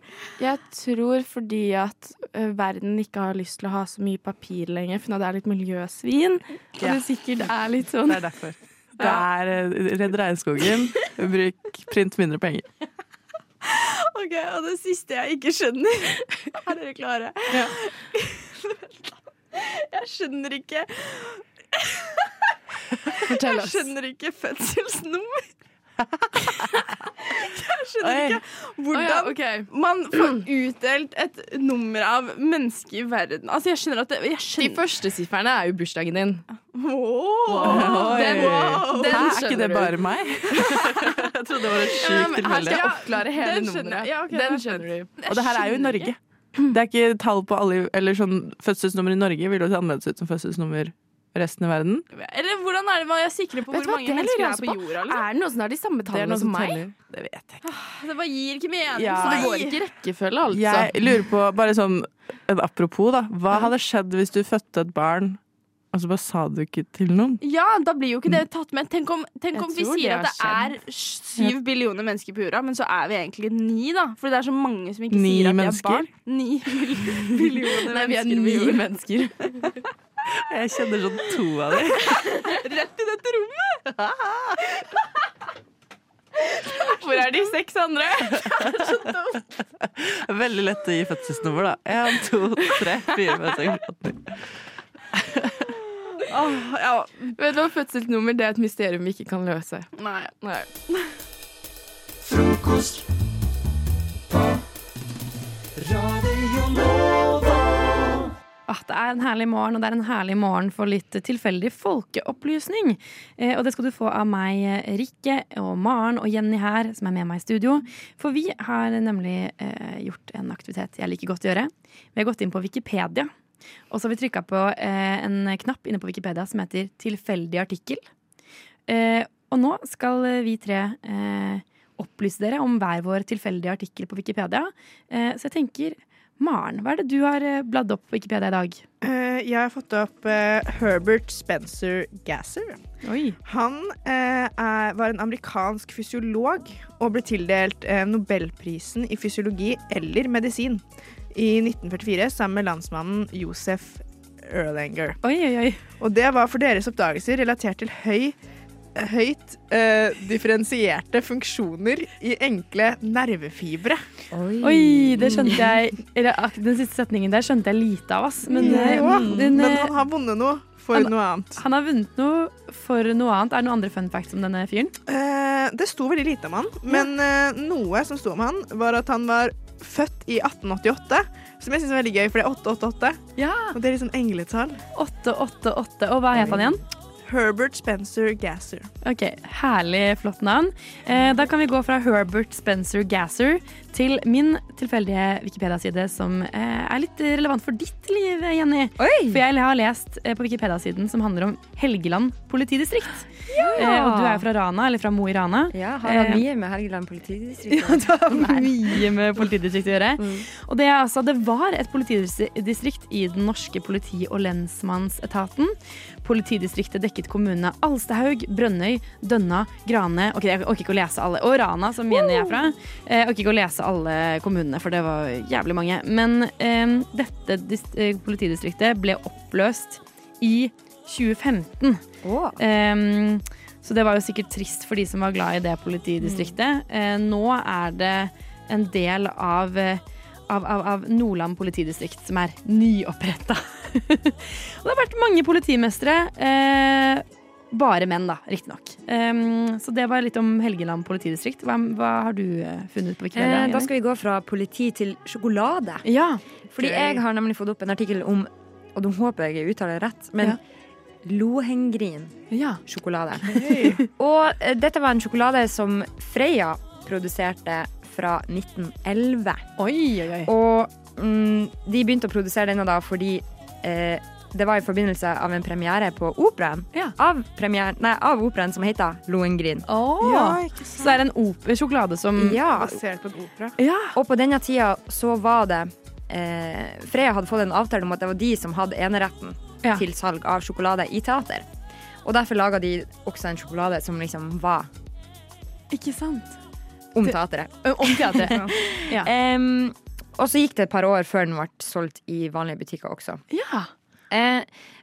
Speaker 12: Jeg tror fordi at ø, verden ikke har lyst til å ha så mye papir lenger, for nå det er litt miljøsvin. Og
Speaker 1: Ja.
Speaker 12: det sikkert er litt sånn.
Speaker 1: Det er derfor. Det er eh, Redd regnskogen. Bruk print mindre penger.
Speaker 2: Ok, Og det siste jeg ikke skjønner Er dere klare? Jeg skjønner ikke
Speaker 12: Fortell
Speaker 2: Jeg
Speaker 12: oss.
Speaker 2: skjønner ikke fødselsnummer. Jeg skjønner
Speaker 12: Oi.
Speaker 2: ikke hvordan
Speaker 12: Å ja, ok.
Speaker 2: man får utdelt et nummer av mennesker i verden. Altså, jeg skjønner at det, jeg
Speaker 12: De
Speaker 2: skjønner.
Speaker 12: første sifferne er jo bursdagen din.
Speaker 2: Wow.
Speaker 12: Den-
Speaker 2: Wow.
Speaker 12: den
Speaker 1: Hæ, er ikke
Speaker 12: skjønner
Speaker 1: det
Speaker 12: du.
Speaker 1: bare meg? jeg trodde det var et
Speaker 12: Ja,
Speaker 1: sjukt
Speaker 12: men her skal
Speaker 1: tilfelle.
Speaker 12: jeg oppklare hele
Speaker 2: den skjønner
Speaker 12: nummeret.
Speaker 2: jeg. Ja, ok,
Speaker 12: den
Speaker 2: det er
Speaker 12: skjønner du.
Speaker 1: Og det her er jo i Norge. Det er ikke tall på alle Eller sånn fødselsnummer i Norge vil jo se annerledes ut som fødselsnummer i resten av verden.
Speaker 2: Eller hvordan er det man er sikre på
Speaker 12: Vet du
Speaker 2: hvor
Speaker 12: hva,
Speaker 2: mange
Speaker 12: det
Speaker 2: mennesker det
Speaker 12: lurer jeg
Speaker 2: er
Speaker 12: også
Speaker 2: på
Speaker 12: på.
Speaker 2: jorda?
Speaker 12: Er det noen som har de
Speaker 1: Det
Speaker 12: samme
Speaker 1: er noe
Speaker 12: tallene som Ah, meg?
Speaker 1: teller. Det vet jeg.
Speaker 2: Det bare gir ikke mening.
Speaker 1: Ja.
Speaker 12: Så det går ikke i rekkefølge, altså.
Speaker 1: Jeg lurer på, bare sånn en apropos, da. Hva hadde skjedd hvis du fødte et barn, og så bare sa du ikke til noen?
Speaker 2: Ja, da blir jo ikke det tatt med. Tenk om, tenk
Speaker 12: Jeg
Speaker 2: om vi
Speaker 12: tror
Speaker 2: sier
Speaker 12: det
Speaker 2: at det
Speaker 12: har
Speaker 2: er syv billioner mennesker på jorda, men så er vi egentlig ni, da. For det er så mange som ikke
Speaker 1: Ni
Speaker 2: sier at
Speaker 1: mennesker?
Speaker 2: de er barn. Ni bil- billioner
Speaker 12: Nei, vi er
Speaker 2: mennesker på
Speaker 12: ni
Speaker 2: jorda.
Speaker 12: mennesker.
Speaker 1: Jeg kjenner sånn to av dem.
Speaker 2: Rett i dette rommet!
Speaker 12: Hvor er de seks andre?
Speaker 1: Veldig lett å gi fødselsnummer, da. Én, to, tre, fire, fem, seks, åtte.
Speaker 12: Åh, ja. Vet du hva, fødselsnummer det er et mysterium vi ikke kan løse.
Speaker 2: Nei.
Speaker 12: Nei.
Speaker 6: Frokost på Radio Nova.
Speaker 17: Ah, det er en herlig morgen, og det er en herlig morgen for litt tilfeldig folkeopplysning. Eh, og det skal du få av meg, eh, Rikke og Maren og Jenny her, som er med meg i studio. For vi har nemlig eh, gjort en aktivitet jeg liker godt å gjøre. Vi har gått inn på Wikipedia. Og så har vi trykka på eh, en knapp inne på Wikipedia som heter 'tilfeldig artikkel'. Eh, og nå skal vi tre eh, opplyse dere om hver vår tilfeldige artikkel på Wikipedia. Eh, så jeg tenker, Maren, hva er det du har eh, bladd opp på Wikipedia i dag?
Speaker 11: Eh, jeg har fått opp eh, Herbert Spencer Gasser. Han eh, er, var en amerikansk fysiolog og ble tildelt eh, Nobelprisen i fysiologi eller medisin i 1944 sammen med landsmannen Josef Erlanger.
Speaker 2: oi, oi.
Speaker 11: Og det var for deres oppdagelser relatert til høy, høyt eh, differensierte funksjoner i enkle nervefibre.
Speaker 2: Oi, det skjønte jeg eller, ak- Den siste setningen der skjønte jeg lite av, ass. Men,
Speaker 11: Jeg
Speaker 2: eh,
Speaker 11: òg,
Speaker 2: den,
Speaker 11: men
Speaker 2: eh,
Speaker 11: han har vunnet noe for
Speaker 2: han-
Speaker 11: noe annet.
Speaker 2: Han har vunnet noe for noe annet. Er det noen andre fun facts om denne fyren?
Speaker 11: Eh, det sto veldig lite om han, men eh, noe som sto om han, var at han var født i 1888. Som jeg syns er veldig gøy, for det er 888. Og det er liksom engletall.
Speaker 2: 888. Og hva het han igjen?
Speaker 11: Herbert Spencer Gasser.
Speaker 2: Ok, Herlig, flott navn. Eh, da kan vi gå fra Herbert Spencer Gasser til min tilfeldige Wikipedia-side, som eh, er litt relevant for ditt liv, Jenny. For jeg har lest eh, på Wikipedia-siden som handler om Helgeland politidistrikt. Eh, og du er jo fra Rana, eller fra Mo i Rana.
Speaker 18: Ja, har han
Speaker 2: Eh,
Speaker 18: mye med Helgeland politidistrikt?
Speaker 2: Ja, det har mye med politidistrikt å gjøre. Og det, er altså, det var et politidistrikt i den norske politi- og lensmannsetaten. Politidistriktet dekket kommunene Alstahaug, Brønnøy, Dønna, Grane Ok, jeg orker ikke å lese alle. Og Rana, som Jenny er fra. Eh, Jeg orker ikke å lese alle kommunene, for det var jævlig mange. Men eh, dette dis- eh, politidistriktet ble oppløst i 2015. Ehm, så det var jo sikkert trist for de som var glad i det politidistriktet.
Speaker 18: Mm.
Speaker 2: Eh, nå er det en del av, eh, av, av, av Nordland politidistrikt som er nyoppretta. Og det har vært mange politimestere. Eh, bare menn, da, riktignok. Um, så det var litt om Helgeland politidistrikt. Hva, hva har du eh, funnet på Wikipedia?
Speaker 18: Eh, da skal vi gå fra politi til sjokolade. Fordi
Speaker 2: Gøy.
Speaker 18: jeg har nemlig fått opp en artikkel om, og nå håper jeg jeg uttaler det rett, men lohengrin sjokolade. og eh, dette var en sjokolade som Freia produserte fra 1911. Og mm, de begynte å produsere denne da fordi eh, det var i forbindelse av en premiere på operaen. Av, premieren- nei, av operaen som heter Lohengrin.
Speaker 2: Ja, ikke sant. Så det er en op sjokolade som
Speaker 18: ja.
Speaker 11: Mm. Basert på en opera.
Speaker 18: Og på denne tida så var det eh, Freya hadde fått en avtale om at det var de som hadde eneretten til salg av sjokolade i teater. Og derfor laga de også en sjokolade som liksom var
Speaker 2: Ikke sant?
Speaker 18: om teatret.
Speaker 2: Om teatret. ja.
Speaker 18: Em, og så gikk det et par år før den ble solgt i vanlige butikker også. Eh,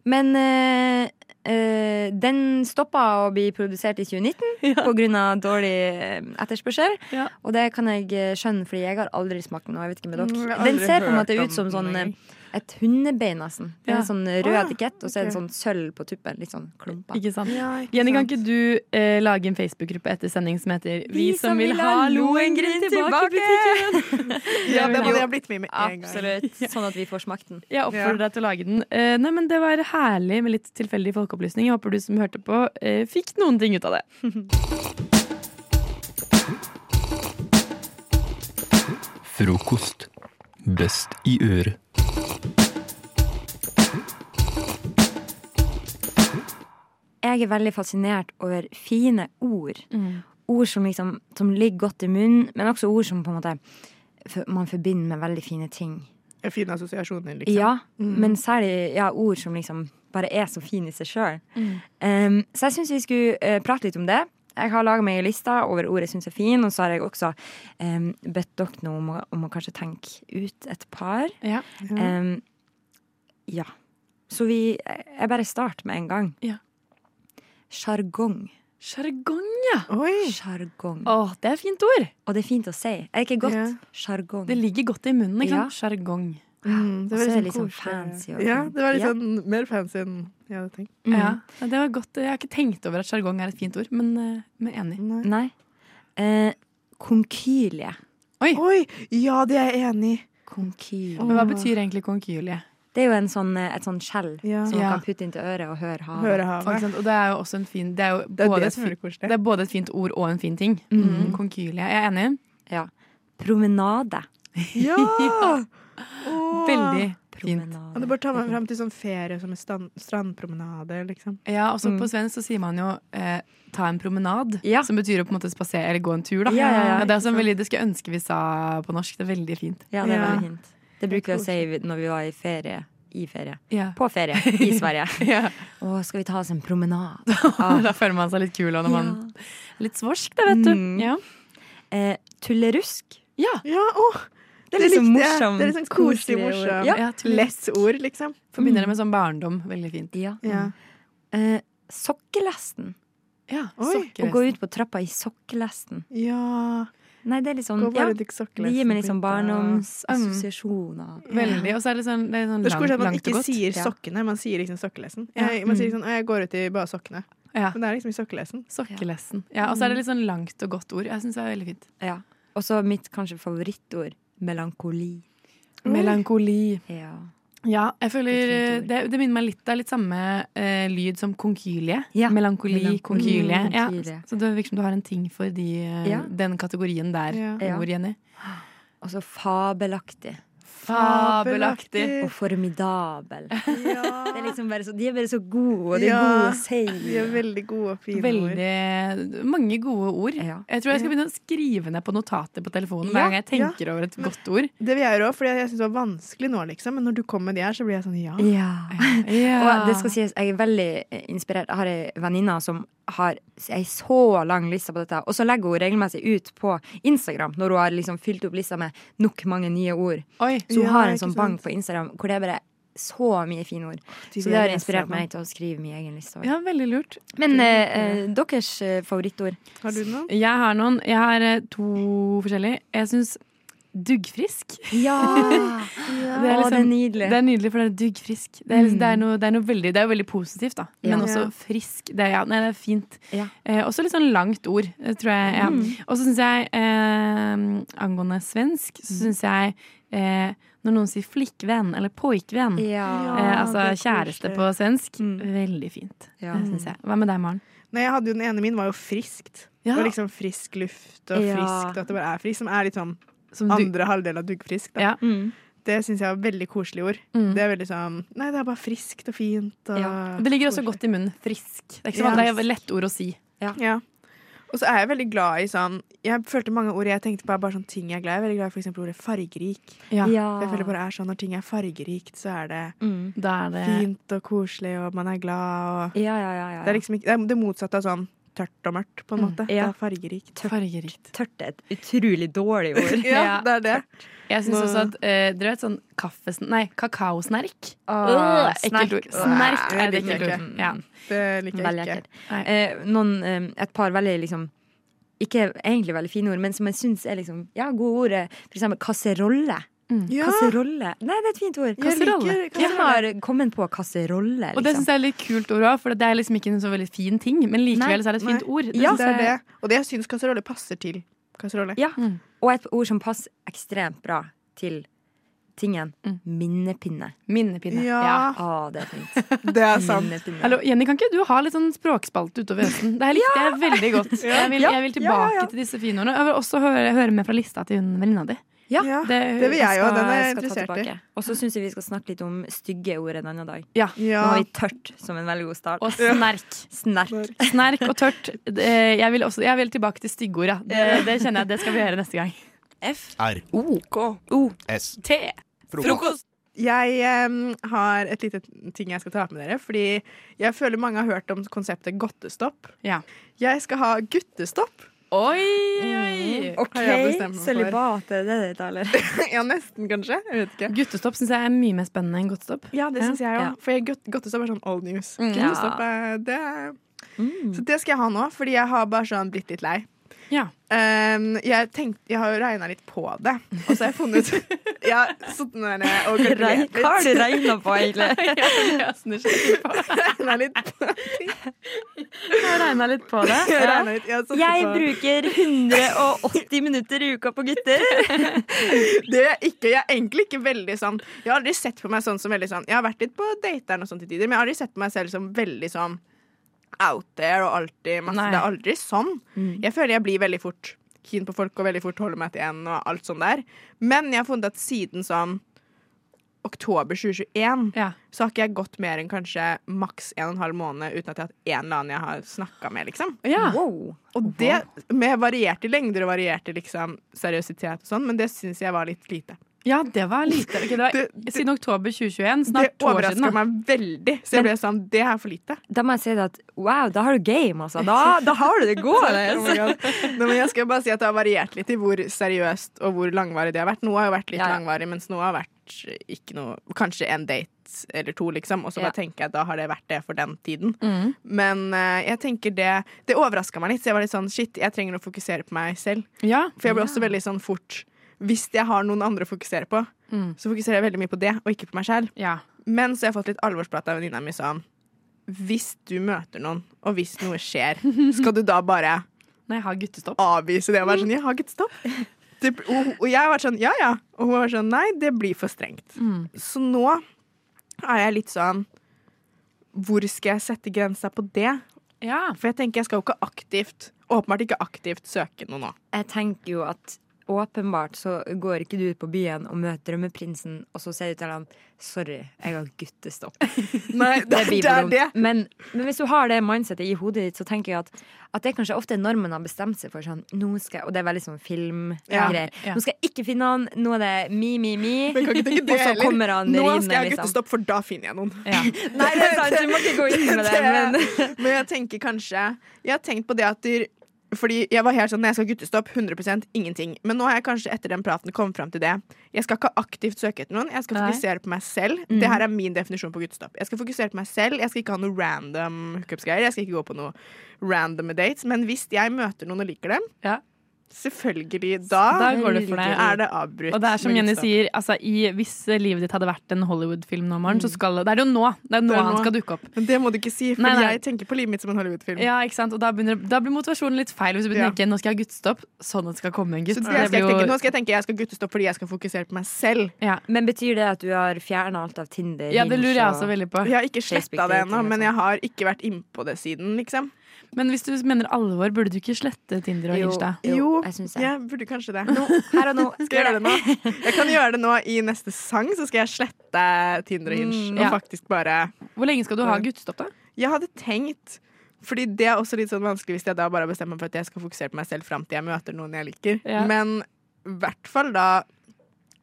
Speaker 18: men eh, eh, den stoppa å bli produsert i 2019 På pga. dårlig eh, etterspørsel. Og det kan jeg eh, skjønne, Fordi jeg har aldri smakt den. Og jeg vet ikke med
Speaker 19: Mm, jeg
Speaker 18: dere
Speaker 19: har
Speaker 18: Den
Speaker 19: aldri
Speaker 18: ser på en
Speaker 19: hørt
Speaker 18: måte
Speaker 19: om
Speaker 18: ut som
Speaker 19: den
Speaker 18: sånn,
Speaker 19: engang.
Speaker 18: eh, et hundebein, nesten. Det er
Speaker 2: Ja.
Speaker 18: en sånn eh, rød
Speaker 2: Ah,
Speaker 18: etikett, og så er det
Speaker 2: ok.
Speaker 18: sånn sølv på tuppen. Litt sånn klumpa.
Speaker 2: Ikke sant? Jenny, kan ikke du eh, lage en Facebook-gruppe etter sending som heter Vi, som vil ha Lohengrin tilbake?
Speaker 18: Ja,
Speaker 2: det må de ha
Speaker 11: blitt med med
Speaker 18: en gang. Absolutt. Sånn at vi får smakt den.
Speaker 2: Jeg oppfordrer deg til å lage den. Eh, nei, men Det var herlig med litt tilfeldig folkeopplysning. Jeg håper du som hørte på, eh, fikk noen ting ut av det.
Speaker 15: Frokost. Best i øret.
Speaker 18: jeg er veldig fascinert over fine ord. Ord som, liksom, som ligger godt i munnen, men også ord som på en måte f- man forbinder med veldig fine ting.
Speaker 11: Ja, Fine assosiasjoner, liksom.
Speaker 18: Ja,
Speaker 11: Mm.
Speaker 18: men særlig ja, ord som liksom bare er så fine i seg sjøl.
Speaker 2: Mm.
Speaker 18: Um, så jeg syns vi skulle eh, prate litt om det. Jeg har laga meg ei liste over ord jeg syns er fine, og så har jeg også um, bedt dere nå om, å- om å kanskje tenke ut et par.
Speaker 2: Ja. Mm.
Speaker 18: Um, ja. Så vi Jeg bare starter med en gang.
Speaker 2: Ja.
Speaker 18: Sjargong.
Speaker 2: Sjargong, ja.
Speaker 18: Sjargong.
Speaker 2: Åh, det er et fint ord.
Speaker 18: Og det er fint å si. Er det ikke
Speaker 2: Ja.
Speaker 18: godt? Sjargong.
Speaker 2: Det ligger godt i munnen. ikke sant? Sjargong.
Speaker 11: Mm,
Speaker 18: Og så er det litt
Speaker 11: sånn
Speaker 18: sånn fancy og
Speaker 11: Ja,
Speaker 18: fint.
Speaker 11: det var litt
Speaker 18: Ja.
Speaker 11: sånn mer fancy enn jeg hadde tenkt.
Speaker 18: Mm.
Speaker 2: Ja. Nei, Det var godt. Jeg har ikke tenkt over at sjargong er et fint ord, men, eh, men enig.
Speaker 18: Nei. Eh, konkylie.
Speaker 2: Oi.
Speaker 11: Ja, det er jeg enig i.
Speaker 18: Konkylie.
Speaker 2: Men hva betyr egentlig konkylie?
Speaker 18: Det er jo en sånn, eh, et sånn skjell som
Speaker 2: Ja.
Speaker 18: man kan putte inntil øret og høre havet.
Speaker 2: Ikke sant? Og det er jo også en fin Det er, jo
Speaker 18: er
Speaker 2: både,
Speaker 18: det
Speaker 2: et
Speaker 18: som
Speaker 2: fi-
Speaker 18: er det koselige.
Speaker 2: det er både et fint ord og en fin ting.
Speaker 18: Mhm.
Speaker 2: Mm. Konkylie. Jeg er enig.
Speaker 18: Ja. Promenade.
Speaker 11: Ja! Åh.
Speaker 2: Veldig
Speaker 11: Ja, du bør ta meg fram til sånn ferie som en stan- strandpromenade, liksom.
Speaker 2: Ja, og så
Speaker 11: Mm.
Speaker 2: på svensk så sier man jo eh, ta en promenad,
Speaker 18: ja.
Speaker 2: som betyr å på en måte spasere eller gå en tur, da.
Speaker 18: Ja, ja, ja,
Speaker 2: det, er også
Speaker 18: ikke sant.
Speaker 2: veldig, det skulle jeg ønske vi sa på norsk. Det er veldig fint.
Speaker 18: Ja, det er veldig fint. Det bruker vi å si når vi var i ferie. I ferie.
Speaker 2: Ja.
Speaker 18: På ferie i Sverige. Å, skal vi ta oss en Ah. promenade?
Speaker 2: da føler man seg litt kul, og når man Litt svorsk, det, vet du.
Speaker 18: Mm. Eh, tullerusk.
Speaker 2: Ja.
Speaker 11: åh. Det er liksom morsomt. Det er litt sånn koselig morsomt.
Speaker 2: Ja, tydeligvis.
Speaker 11: Lett ord, liksom.
Speaker 2: Forbinder det med sånn barndom. Veldig fint.
Speaker 11: Ja.
Speaker 18: Eh, sokkelesten.
Speaker 2: Ja,
Speaker 18: Å gå ut på trappa i sokkelesten.
Speaker 11: Ja.
Speaker 18: Nei, det er litt sånn
Speaker 11: Gå bare ut i sokkelesten
Speaker 18: Det gir meg litt sånn
Speaker 11: på hytta.
Speaker 18: barndomsassosiasjoner.
Speaker 2: Veldig. Og så er det sånn, det er sånn
Speaker 11: Det
Speaker 2: langt,
Speaker 11: skulle skjedd at man
Speaker 2: langt og
Speaker 11: ikke
Speaker 2: godt.
Speaker 11: sier
Speaker 2: Ja.
Speaker 11: sokkene, man sier liksom sokkelesten.
Speaker 2: Ja.
Speaker 11: Jeg, man sier
Speaker 2: Mm.
Speaker 11: sånn 'Å, jeg går ut i bare sokkene'. Men det er liksom i sokkelesten.
Speaker 2: Sokkelesten. Ja, og så er det litt sånn langt og godt ord. Jeg syns det er veldig fint.
Speaker 18: Ja. Og så mitt kanskje favorittord melankoli.
Speaker 2: Melankoli.
Speaker 18: Ja.
Speaker 2: Ja, jeg føler det, det minner meg litt Det er litt samme eh, lyd som konkylie.
Speaker 18: Ja.
Speaker 2: Melankoli,
Speaker 18: Melankoli,
Speaker 2: konkylie. Ja.
Speaker 18: konkylie.
Speaker 2: Så det virker som du har en ting for de, eh,
Speaker 18: Ja.
Speaker 2: den kategorien der.
Speaker 18: Ja.
Speaker 2: Ord, Jenny.
Speaker 18: Og så fabelaktig.
Speaker 2: Fabelaktig.
Speaker 18: Og formidabel. Det er liksom bare så, de er bare så gode, og de er
Speaker 2: Ja,
Speaker 18: gode å si.
Speaker 2: de er
Speaker 11: veldig gode og fine
Speaker 2: Veldig mange gode ord. Jeg tror jeg skal
Speaker 11: Ja.
Speaker 2: begynne å skrive ned på notater på telefonen
Speaker 11: Ja,
Speaker 2: hver gang jeg tenker over et godt ord.
Speaker 11: Det vil jeg gjøre òg, for jeg syns det var vanskelig nå, liksom. Men når du kom med de her, så blir jeg sånn ja.
Speaker 18: Og det skal sies, jeg er veldig eh, inspirert. Jeg har ei venninne som har ei så lang liste på dette. Og så legger hun regelmessig ut på Instagram når hun har liksom fylt opp lista med nok mange nye ord. så hun
Speaker 11: Ja,
Speaker 18: har en
Speaker 11: ikke
Speaker 18: sånn bank
Speaker 11: sant.
Speaker 18: på Instagram hvor det er bare så mye fine ord.
Speaker 11: De
Speaker 18: så
Speaker 11: vil
Speaker 18: det har
Speaker 11: jeg lese
Speaker 18: inspirert
Speaker 11: om.
Speaker 18: meg til å skrive min egen liste. også.
Speaker 2: Ja, veldig lurt.
Speaker 18: Men eh, eh, deres eh, favorittord?
Speaker 11: Har du noen?
Speaker 2: Jeg har noen. Jeg har eh, to forskjellige. Jeg syns duggfrisk.
Speaker 18: Ja!
Speaker 2: Det er, liksom-
Speaker 18: Å, det er liksom nydelig.
Speaker 2: Det er nydelig, for det er duggfrisk. Det er, liksom, det er, noe, det er, noe veldig, det er jo veldig positivt, da.
Speaker 18: Ja.
Speaker 2: Men også
Speaker 18: Ja.
Speaker 2: frisk. Det er, ja, nei, det er fint.
Speaker 18: Ja.
Speaker 2: Eh, også litt sånn langt ord, eh, tror jeg. Ja.
Speaker 18: Mm.
Speaker 2: Og så syns jeg, eh, angående svensk, så syns jeg eh, når noen sier flikkvenn eller pojkvenn,
Speaker 11: Ja.
Speaker 2: eh, altså
Speaker 11: Ja, det er
Speaker 2: kjæreste
Speaker 11: koselig.
Speaker 2: på svensk, veldig fint.
Speaker 11: Ja.
Speaker 2: Det syns jeg. Hva med deg, Maren?
Speaker 11: Nei, jeg hadde jo Den ene min var jo friskt. Det var liksom frisk luft og
Speaker 2: Ja.
Speaker 11: friskt, og at det bare er friskt. Som er litt sånn
Speaker 2: du-
Speaker 11: andre halvdel av duggfrisk. Da.
Speaker 2: Ja.
Speaker 11: Det syns jeg var veldig koselige ord.
Speaker 2: Mm.
Speaker 11: Det er veldig sånn Nei, det er bare friskt og fint. Og
Speaker 2: Ja. Det ligger også godt i munnen. Frisk. Det er ikke så
Speaker 11: Ja.
Speaker 2: vanlig, det er lett ord å si.
Speaker 11: Ja. Og så er jeg veldig glad i sånn Jeg følte mange ord jeg tenkte på er bare sånn ting jeg er glad i. Jeg er veldig glad i for eksempel ordet fargerik.
Speaker 2: Ja. Ja.
Speaker 11: For jeg føler bare er sånn når ting er fargerikt, så er det
Speaker 2: Da er det
Speaker 11: fint og koselig, og man er glad og
Speaker 18: Ja, ja, ja, ja, ja.
Speaker 11: Det er liksom ikke det, er det motsatte av sånn tørt og mørkt, på en måte. Det
Speaker 18: Ja.
Speaker 11: er fargerikt.
Speaker 2: Fargerikt.
Speaker 18: Tørt er et utrolig dårlig ord.
Speaker 11: ja, det er det.
Speaker 2: Jeg syns
Speaker 11: Nå-
Speaker 2: også at eh, Dere vet sånn kaffesn... Nei, kakaosnerk.
Speaker 18: Ah,
Speaker 2: Øh, ekkelt ord. Snerk er et ekkelt ord. Ja.
Speaker 11: Det liker jeg
Speaker 18: Veldig
Speaker 11: ikke.
Speaker 18: ekkelt. Eh, noen, eh, et par veldig liksom ikke egentlig veldig fine ord, men som jeg syns er liksom, ja, gode ord. eh, For eksempel kasserolle.
Speaker 2: Mm.
Speaker 11: Ja.
Speaker 18: Kasserolle. Nei, det er et fint ord.
Speaker 2: Kasserolle.
Speaker 18: Jeg
Speaker 2: Ja.
Speaker 18: har kommet på kasserolle.
Speaker 2: Og det syns jeg er litt kult ord òg, for det er liksom ikke en så veldig fin ting. Men likevel så er det et fint
Speaker 11: Nei.
Speaker 2: ord.
Speaker 11: Ja,
Speaker 2: synes
Speaker 11: det er
Speaker 2: jeg-
Speaker 11: det. Og det jeg syns kasserolle passer til kasserolle.
Speaker 18: Ja.
Speaker 2: Mm.
Speaker 18: Og et ord som passer ekstremt bra til tingen. Minnepinne.
Speaker 2: Mm. Minnepinne.
Speaker 18: Ja.
Speaker 2: Ja.
Speaker 18: Ah, det er fint.
Speaker 11: Det er sant.
Speaker 18: Minnepinne.
Speaker 2: Hallo, Jenny, kan ikke du ha litt sånn språkspalte utover høsten? Det her likte jeg veldig godt.
Speaker 18: Ja.
Speaker 2: Jeg vil,
Speaker 18: Ja.
Speaker 2: jeg vil
Speaker 18: Ja,
Speaker 2: tilbake
Speaker 18: ja, ja.
Speaker 2: til disse fine ordene. Jeg vil også høre, høre med fra lista til hun venninna di.
Speaker 11: Ja, det vil jeg jo, den er jeg
Speaker 18: skal ta
Speaker 11: interessert i.
Speaker 18: tilbake. Og så syns jeg vi skal snakke litt om stygge ord en annen dag.
Speaker 2: Ja.
Speaker 18: Nå har vi tørt som en veldig god start.
Speaker 2: Og snerk.
Speaker 18: Snerk.
Speaker 2: Snerk og tørt. Eh, Jeg vil, også, jeg vil tilbake til stygge ord, ja. Det, det kjenner jeg. Det skal vi gjøre neste gang. F.
Speaker 1: R.
Speaker 2: O. K.
Speaker 1: O. S.
Speaker 2: T.
Speaker 11: Jeg em, har et lite ting jeg skal ta opp med dere. Fordi jeg føler mange har hørt om konseptet godtestopp.
Speaker 2: Ja.
Speaker 11: Jeg skal ha guttestopp.
Speaker 2: Oi, Mm.
Speaker 11: Mm,
Speaker 18: OK, sølibat, er det det heter, eller?
Speaker 11: ja, nesten, kanskje. Jeg vet ikke.
Speaker 2: Guttestopp syns jeg er mye mer spennende enn godtestopp.
Speaker 11: Ja, det syns jeg
Speaker 2: Ja.
Speaker 11: òg. For godt- godtestopp er sånn old news.
Speaker 2: Mm.
Speaker 11: Godtestopp er det er-
Speaker 18: Mm.
Speaker 11: Så det skal jeg ha nå, fordi jeg har bare sånn blitt litt lei.
Speaker 2: Ja.
Speaker 11: Em, jeg, tenkte, jeg har jo regna litt på det, og så har jeg funnet Jeg har sittet der nede og
Speaker 18: Regn-
Speaker 11: kalkulert litt.
Speaker 18: Hva har du regnet på, egentlig?
Speaker 11: Regna litt på
Speaker 2: Jeg regna litt på
Speaker 11: det. Jeg regnet litt, jeg satte
Speaker 18: Jeg
Speaker 11: på-
Speaker 18: bruker 180 minutter i uka på gutter.
Speaker 11: Det er jeg ikke, jeg er egentlig ikke veldig sånn Jeg har aldri sett på meg sånn som veldig sånn Jeg har vært litt på dateren og sånn til tider Men jeg har aldri sett på meg selv som veldig sånn Out there og alltid masse
Speaker 2: Nei.
Speaker 11: Det er aldri sånn
Speaker 2: Mm.
Speaker 11: Jeg føler jeg blir veldig fort keen på folk Og veldig fort holder meg til en og alt sånn der Men jeg har funnet at siden sånn Oktober 2021 Så har ikke jeg gått mer enn kanskje Maks en og en halv måned Uten at jeg har hatt en eller annen jeg har snakket med liksom
Speaker 2: Ja.
Speaker 11: og det med varierte lengder og varierte liksom, seriøsitet og sånn, men det syns jeg var litt lite.
Speaker 20: Ja, det var lite. Ok, det var siden oktober 2021. Snart
Speaker 11: Det
Speaker 20: to år siden.
Speaker 11: overrasker meg veldig. Så jeg ble sånn Det er for lite.
Speaker 18: Da må jeg si det at wow, da har du game, altså. Da, da har du det
Speaker 11: Oh my
Speaker 18: gående.
Speaker 11: God. Nei, men jeg skal bare si at Det har variert litt i hvor seriøst og hvor langvarig det har vært. Noe har jo vært litt langvarig, mens noe har vært ikke noe Kanskje en date eller to, liksom. Og så
Speaker 18: Ja.
Speaker 11: bare tenker jeg at da har det vært det for den tiden.
Speaker 18: Mm.
Speaker 11: Men eh, jeg tenker det Det overraska meg litt. Så jeg var litt sånn shit, jeg trenger å fokusere på meg selv. For jeg ble også veldig sånn fort Hvis jeg har noen andre å fokusere på,
Speaker 20: Mm.
Speaker 11: så fokuserer jeg veldig mye på det, og ikke på meg selv. Men så har jeg fått litt alvorsprat av venninna mi sånn Hvis du møter noen, og hvis noe skjer, skal du da bare
Speaker 20: Nei, ha guttestopp.
Speaker 11: avvise det og være sånn Ja, ha guttestopp. Det, og, og jeg har vært sånn ja ja, og hun var sånn nei, det blir for strengt.
Speaker 20: Mm.
Speaker 11: Så nå er jeg litt sånn Hvor skal jeg sette grensa på det? For jeg tenker jeg skal jo ikke aktivt, åpenbart ikke aktivt søke noe nå.
Speaker 18: Jeg tenker jo at åpenbart så går ikke du ut på byen og møter drømmeprinsen, og så sier du til han sorry, jeg har guttestopp.
Speaker 11: Nei, det-
Speaker 18: blir
Speaker 11: det er
Speaker 18: for dumt.
Speaker 11: det.
Speaker 18: Men, men hvis du har det mindsetet i hodet ditt, så tenker jeg at, at det er kanskje ofte normen har bestemt seg for sånn, nå skal jeg, og det er veldig sånn
Speaker 11: Ja.
Speaker 18: filmgreier,
Speaker 11: Ja.
Speaker 18: nå skal jeg ikke finne han, nå er det mi, mi, mi,
Speaker 11: Men kan ikke tenke det
Speaker 18: og så
Speaker 11: heller.
Speaker 18: kommer han
Speaker 11: Nå
Speaker 18: rinnende,
Speaker 11: skal jeg ha
Speaker 18: liksom.
Speaker 11: guttestopp, for da finner jeg noen.
Speaker 18: Nei, det er sant, du må ikke gå inn med det, men...
Speaker 11: men jeg tenker kanskje Jeg har tenkt på det at dyr fordi jeg var helt sånn, når jeg skal ha guttestopp, 100 ingenting. Men nå har jeg kanskje etter den praten kommet fram til det. Jeg skal ikke aktivt søke etter noen, jeg skal
Speaker 18: Nei.
Speaker 11: fokusere på meg selv.
Speaker 18: Mm.
Speaker 11: Det her er min definisjon på guttestopp. Jeg skal fokusere på meg selv, jeg skal ikke ha noe random hookups-greier. Jeg skal ikke gå på noe random dates. Men hvis jeg møter noen og liker dem, selvfølgelig, da,
Speaker 20: Da går du for det.
Speaker 11: er det avbrutt.
Speaker 20: Og det er som
Speaker 11: med
Speaker 20: Jenny
Speaker 11: guttestopp.
Speaker 20: sier, altså, i, hvis livet ditt hadde vært en Hollywood-film nå, Maren, så skal det Det er jo nå! Det er nå
Speaker 11: Det er
Speaker 20: han
Speaker 11: nå.
Speaker 20: skal dukke opp.
Speaker 11: Men det må du ikke si, for
Speaker 20: Nei, nei.
Speaker 11: jeg tenker på livet mitt som en Hollywood-film.
Speaker 20: Ja, ikke sant? Og da, begynner, da blir motivasjonen litt feil hvis du begynner
Speaker 11: Ja.
Speaker 20: å tenke nå skal jeg ha guttestopp. Sånn at det skal komme en gutt.
Speaker 11: Så det
Speaker 20: Det
Speaker 11: skal jeg
Speaker 20: blir
Speaker 11: tenke.
Speaker 20: jo-
Speaker 11: Nå skal jeg tenke jeg skal guttestopp fordi jeg skal fokusere på meg selv.
Speaker 18: Men betyr det at du har fjernet alt av Tinder?
Speaker 11: Ja, det
Speaker 18: Hinge
Speaker 11: lurer jeg
Speaker 18: og
Speaker 20: også veldig
Speaker 2: Ah,
Speaker 20: på.
Speaker 11: Jeg har ikke sletta det
Speaker 18: Facebook-dating
Speaker 11: ennå,
Speaker 18: og
Speaker 11: men jeg har ikke vært innpå det siden, liksom.
Speaker 20: Men hvis du mener alvor, burde du ikke slette Tinder og
Speaker 11: Jo,
Speaker 20: Insta?
Speaker 11: jo,
Speaker 18: jeg syns det.
Speaker 11: jeg burde kanskje det. skal jeg gjøre det nå? Jeg kan gjøre det nå i neste sang, så skal jeg slette Tinder og Hinge.
Speaker 20: Mm,
Speaker 11: Og
Speaker 20: ja.
Speaker 11: faktisk bare
Speaker 20: Hvor lenge skal du ha guttestopp, da?
Speaker 11: Jeg hadde tenkt fordi det er også litt sånn vanskelig hvis jeg da bare bestemmer meg for at jeg skal fokusere på meg selv fram til jeg møter noen jeg liker.
Speaker 20: Ja.
Speaker 11: Men i hvert fall da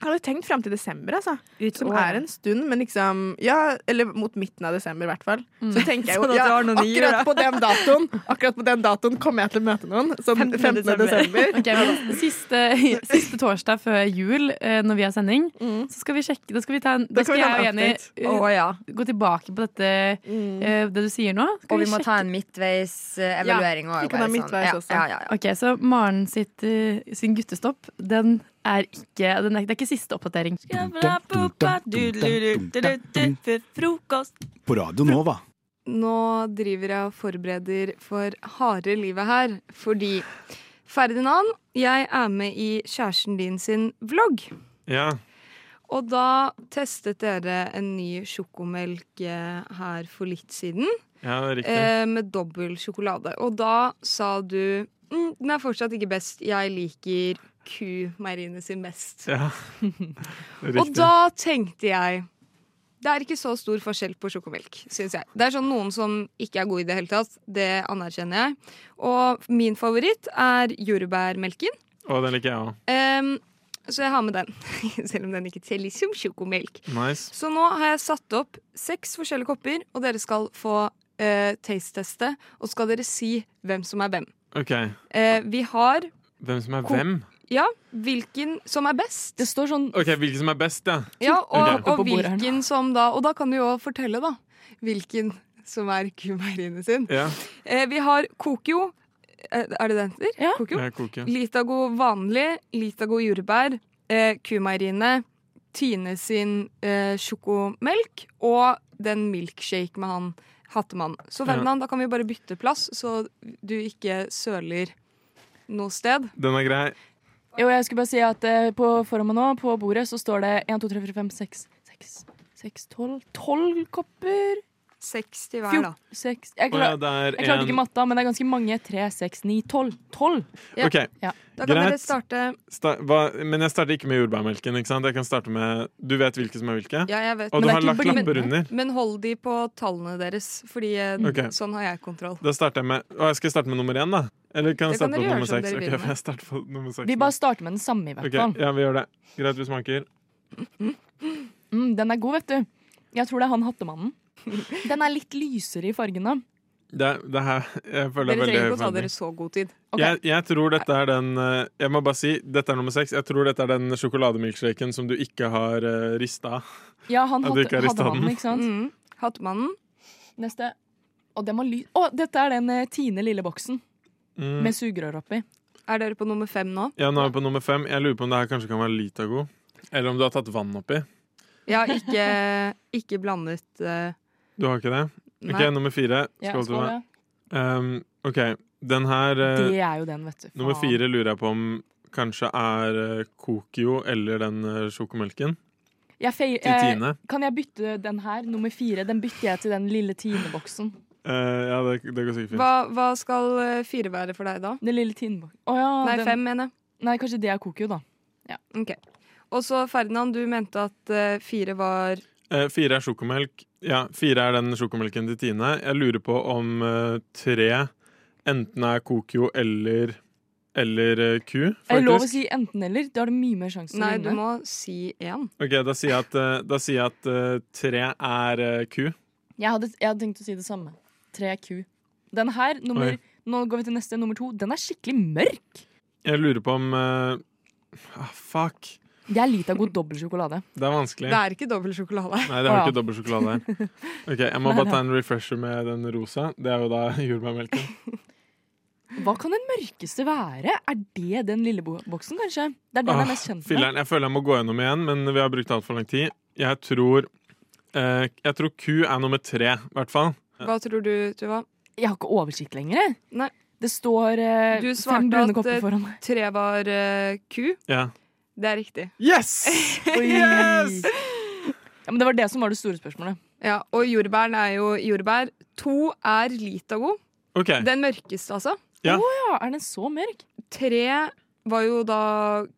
Speaker 11: Jeg hadde tenkt fram til desember, altså. som
Speaker 18: året.
Speaker 11: er en stund, men liksom Ja, eller mot midten av desember, i hvert fall.
Speaker 18: Mm.
Speaker 11: Så tenker jeg
Speaker 18: Sånn
Speaker 11: jo
Speaker 18: at du
Speaker 11: ja,
Speaker 18: har noen nye,
Speaker 11: akkurat,
Speaker 18: da.
Speaker 11: på den datoen, akkurat på den datoen kommer jeg til å møte noen. Sånn 15. desember.
Speaker 20: Ok, men siste, siste torsdag før jul, eh, når vi har sending,
Speaker 18: Mm.
Speaker 20: så skal vi sjekke Da skal vi ta en, da
Speaker 18: Da kan
Speaker 20: skal
Speaker 18: vi
Speaker 20: jeg
Speaker 18: ta
Speaker 20: og
Speaker 18: en
Speaker 20: Jenny
Speaker 18: update.
Speaker 20: eh,
Speaker 18: Å, ja.
Speaker 20: gå tilbake på dette,
Speaker 11: Mm.
Speaker 20: eh, det du sier nå. Skal
Speaker 18: Og vi må
Speaker 20: sjekke-
Speaker 18: ta en eh, midtveis-evaluering
Speaker 20: Ja,
Speaker 18: òg.
Speaker 20: vi kan ha midtveis
Speaker 18: sånn. ja,
Speaker 20: også.
Speaker 18: ja, ja, ja.
Speaker 20: Ok, så Maren sitt, eh, sin guttestopp, den er ikke den er, Det er ikke siste oppdatering.
Speaker 19: Frokost.
Speaker 9: På Radio Nova.
Speaker 19: Nå driver jeg og forbereder for harde livet her, fordi Ferdinand, jeg er med i kjæresten din sin vlogg.
Speaker 21: Ja.
Speaker 19: Og da testet dere en ny sjokomelk eh, her for litt siden.
Speaker 21: Ja, det er riktig.
Speaker 19: eh, Med dobbel sjokolade. Og da sa du mm, den er fortsatt ikke best, jeg liker Q-Marine sin best.
Speaker 21: Ja. Det er
Speaker 19: Og
Speaker 21: riktig.
Speaker 19: da tenkte jeg det er ikke så stor forskjell på sjokomelk, syns jeg. Det er sånn noen som ikke er gode i det hele tatt. Det anerkjenner jeg. Og min favoritt er jordbærmelken.
Speaker 21: Og den liker jeg òg.
Speaker 19: Ehm, så jeg har med den, selv om den ikke teller som sjokomelk.
Speaker 21: Nice.
Speaker 19: Så nå har jeg satt opp seks forskjellige kopper, og dere skal få eh, taste-teste. Og så skal dere si hvem som er hvem.
Speaker 21: OK.
Speaker 19: Eh, vi har
Speaker 21: Hvem som er
Speaker 19: Ko-
Speaker 21: hvem?
Speaker 19: Ja, hvilken som er best. Det står sånn
Speaker 21: OK, hvilken som er best, ja.
Speaker 19: Ja, og,
Speaker 21: Ok.
Speaker 19: og hvilken som da Og da kan du jo fortelle, da. Hvilken som er kumeieriene sin.
Speaker 21: Ja.
Speaker 19: Eh, vi har Kokio. Eh, Er det den heter? Ja. Kokio.
Speaker 21: Ja, Kokio.
Speaker 19: Litago vanlig, Litago jordbær, eh, kumeieriene, Tine sin eh, sjokomelk og den milkshake med han hattemannen. Så
Speaker 21: Ja.
Speaker 19: Ferdinand, da kan vi bare bytte plass, så du ikke søler noe sted.
Speaker 21: Den er grei.
Speaker 22: Jo, jeg skulle bare si at eh, på foran meg nå, på bordet, så står det 1, 2, 3, 4, 5, 6, 6, 6, 12, 12 kopper.
Speaker 19: 6 til
Speaker 22: hver, da. jeg,
Speaker 21: Å
Speaker 22: klar,
Speaker 21: ja, det er
Speaker 22: jeg klarte
Speaker 21: en-
Speaker 22: ikke matta, men det er ganske mange. 3, 6, 9, 12. 12.
Speaker 21: Ja. Ok.
Speaker 22: Ja.
Speaker 21: Da kan Greit. dere
Speaker 19: starte
Speaker 21: Sta hva, men jeg starter ikke med jordbærmelken. ikke sant? Jeg kan starte med, Du vet hvilke som er hvilke?
Speaker 19: Ja, jeg vet.
Speaker 21: Og du
Speaker 19: Men
Speaker 21: har
Speaker 19: det er
Speaker 21: lagt
Speaker 19: ikke-
Speaker 21: lapper
Speaker 19: men,
Speaker 21: under?
Speaker 19: Men hold de på tallene deres, Fordi eh,
Speaker 21: Ok.
Speaker 19: sånn har jeg kontroll.
Speaker 21: Da starter jeg med Å, jeg skal starte med nummer én, da? Eller kan jeg
Speaker 22: Det
Speaker 21: starte
Speaker 22: kan
Speaker 21: på
Speaker 22: dere gjøre
Speaker 21: nummer
Speaker 22: som
Speaker 21: seks?
Speaker 22: dere
Speaker 21: Ok,
Speaker 22: vil med.
Speaker 21: jeg starter på nummer seks.
Speaker 22: Vi
Speaker 21: nå.
Speaker 22: bare starter med den samme, i hvert
Speaker 21: Ok,
Speaker 22: fall.
Speaker 21: ja, vi gjør det. Greit, vi smaker.
Speaker 22: Mm, den er god, vet du. Jeg tror det er han hattemannen. Den er litt lysere i fargene.
Speaker 21: Det, det her, jeg føler
Speaker 19: Dere
Speaker 21: veldig
Speaker 19: trenger
Speaker 21: høy
Speaker 19: ikke å ta
Speaker 21: forventning.
Speaker 19: dere så god tid.
Speaker 21: Jeg, jeg tror dette er den eh, Jeg må bare si, dette er nummer seks. Jeg tror dette er den sjokolademilkshaken som du ikke har uh, rista.
Speaker 22: Ja, han
Speaker 21: At du
Speaker 22: hadde,
Speaker 21: ikke har
Speaker 22: hadde
Speaker 21: rista
Speaker 22: mannen,
Speaker 21: den.
Speaker 22: ikke sant?
Speaker 19: Mm. Hattemannen.
Speaker 22: Neste. Å, den var ly Å, dette er den eh, Tine lille boksen
Speaker 21: Mm.
Speaker 22: med sugerør oppi.
Speaker 19: Er dere på nummer fem nå?
Speaker 21: Ja, nå er vi på nummer fem. Jeg lurer på om det her kanskje kan være Litago. Eller om du har tatt vann oppi.
Speaker 19: Ja, ikke, ikke blandet eh,
Speaker 21: Du har ikke det? OK,
Speaker 19: Nei.
Speaker 21: nummer fire.
Speaker 19: Ja,
Speaker 21: Skål til
Speaker 19: skål,
Speaker 21: meg. Um, OK, den her eh,
Speaker 22: Det er jo den, vet du. Faen.
Speaker 21: Nummer fire lurer jeg på om kanskje er eh, Kokio eller den eh, sjokomelken.
Speaker 22: Jeg fei-
Speaker 21: Til Tine.
Speaker 22: eh, Kan jeg bytte den her, nummer fire? Den bytter jeg til den lille Tine-boksen.
Speaker 21: Eh, ja, det, det går sikkert fint.
Speaker 19: Hva, hva skal eh, fire være for deg da?
Speaker 22: Den lille Tine-boksen. Å ja,
Speaker 19: Nei,
Speaker 22: den-
Speaker 19: fem, mener jeg.
Speaker 22: Nei, kanskje det er Kokio, da.
Speaker 19: Ok. Og så Ferdinand, du mente at eh, fire var
Speaker 21: Eh, fire er sjokomelk. Ja, fire er den sjokomelken til Tine. Jeg lurer på om eh, tre enten er Kokio eller eller eh, ku,
Speaker 22: Er det lov å
Speaker 21: faktisk.
Speaker 22: si enten-eller? Da har du mye mer sjanse til å
Speaker 19: Nei,
Speaker 22: vinne.
Speaker 19: du må si én.
Speaker 21: OK, da sier jeg at, eh, da sier jeg at eh, tre er eh, ku.
Speaker 22: Jeg hadde, jeg hadde tenkt å si det samme. Tre ku. Den her, nummer
Speaker 21: Oi.
Speaker 22: Nå går vi til neste, nummer to. Den er skikkelig mørk!
Speaker 21: Jeg lurer på om eh, ah, Fuck.
Speaker 22: Det er litt av god dobbel sjokolade.
Speaker 21: Det er vanskelig.
Speaker 19: er ikke dobbel sjokolade.
Speaker 21: Nei, det har ikke dobbel sjokolade her. Ok, Jeg må
Speaker 22: Nei,
Speaker 21: bare
Speaker 22: nei.
Speaker 21: ta en refresher med den rosa. Det er jo da jordbærmelken.
Speaker 22: Hva kan den mørkeste være? Er det den lille bo- boksen, kanskje? Det er den jeg
Speaker 21: Ah,
Speaker 22: er mest kjent med.
Speaker 21: Filler'n, jeg føler jeg må gå gjennom igjen, men vi har brukt altfor lang tid. Jeg tror eh, Jeg tror Q er nummer tre, i hvert fall.
Speaker 19: Hva tror du, Tuva?
Speaker 22: Jeg har ikke oversikt lenger. jeg.
Speaker 19: Nei.
Speaker 22: Det står eh,
Speaker 19: Du
Speaker 22: fem
Speaker 19: svarte
Speaker 22: brune
Speaker 19: at
Speaker 22: kopper
Speaker 19: eh,
Speaker 22: foran meg.
Speaker 19: tre var eh, ku.
Speaker 21: Ja.
Speaker 19: Det er riktig.
Speaker 21: Yes!
Speaker 19: Yes!
Speaker 22: Ja, men det var det som var det store spørsmålet.
Speaker 19: Ja, og jordbæren er jo jordbær. To er Litago.
Speaker 21: OK.
Speaker 19: Den mørkeste, altså.
Speaker 21: Ja. Å
Speaker 22: er den så mørk?
Speaker 19: Tre var jo da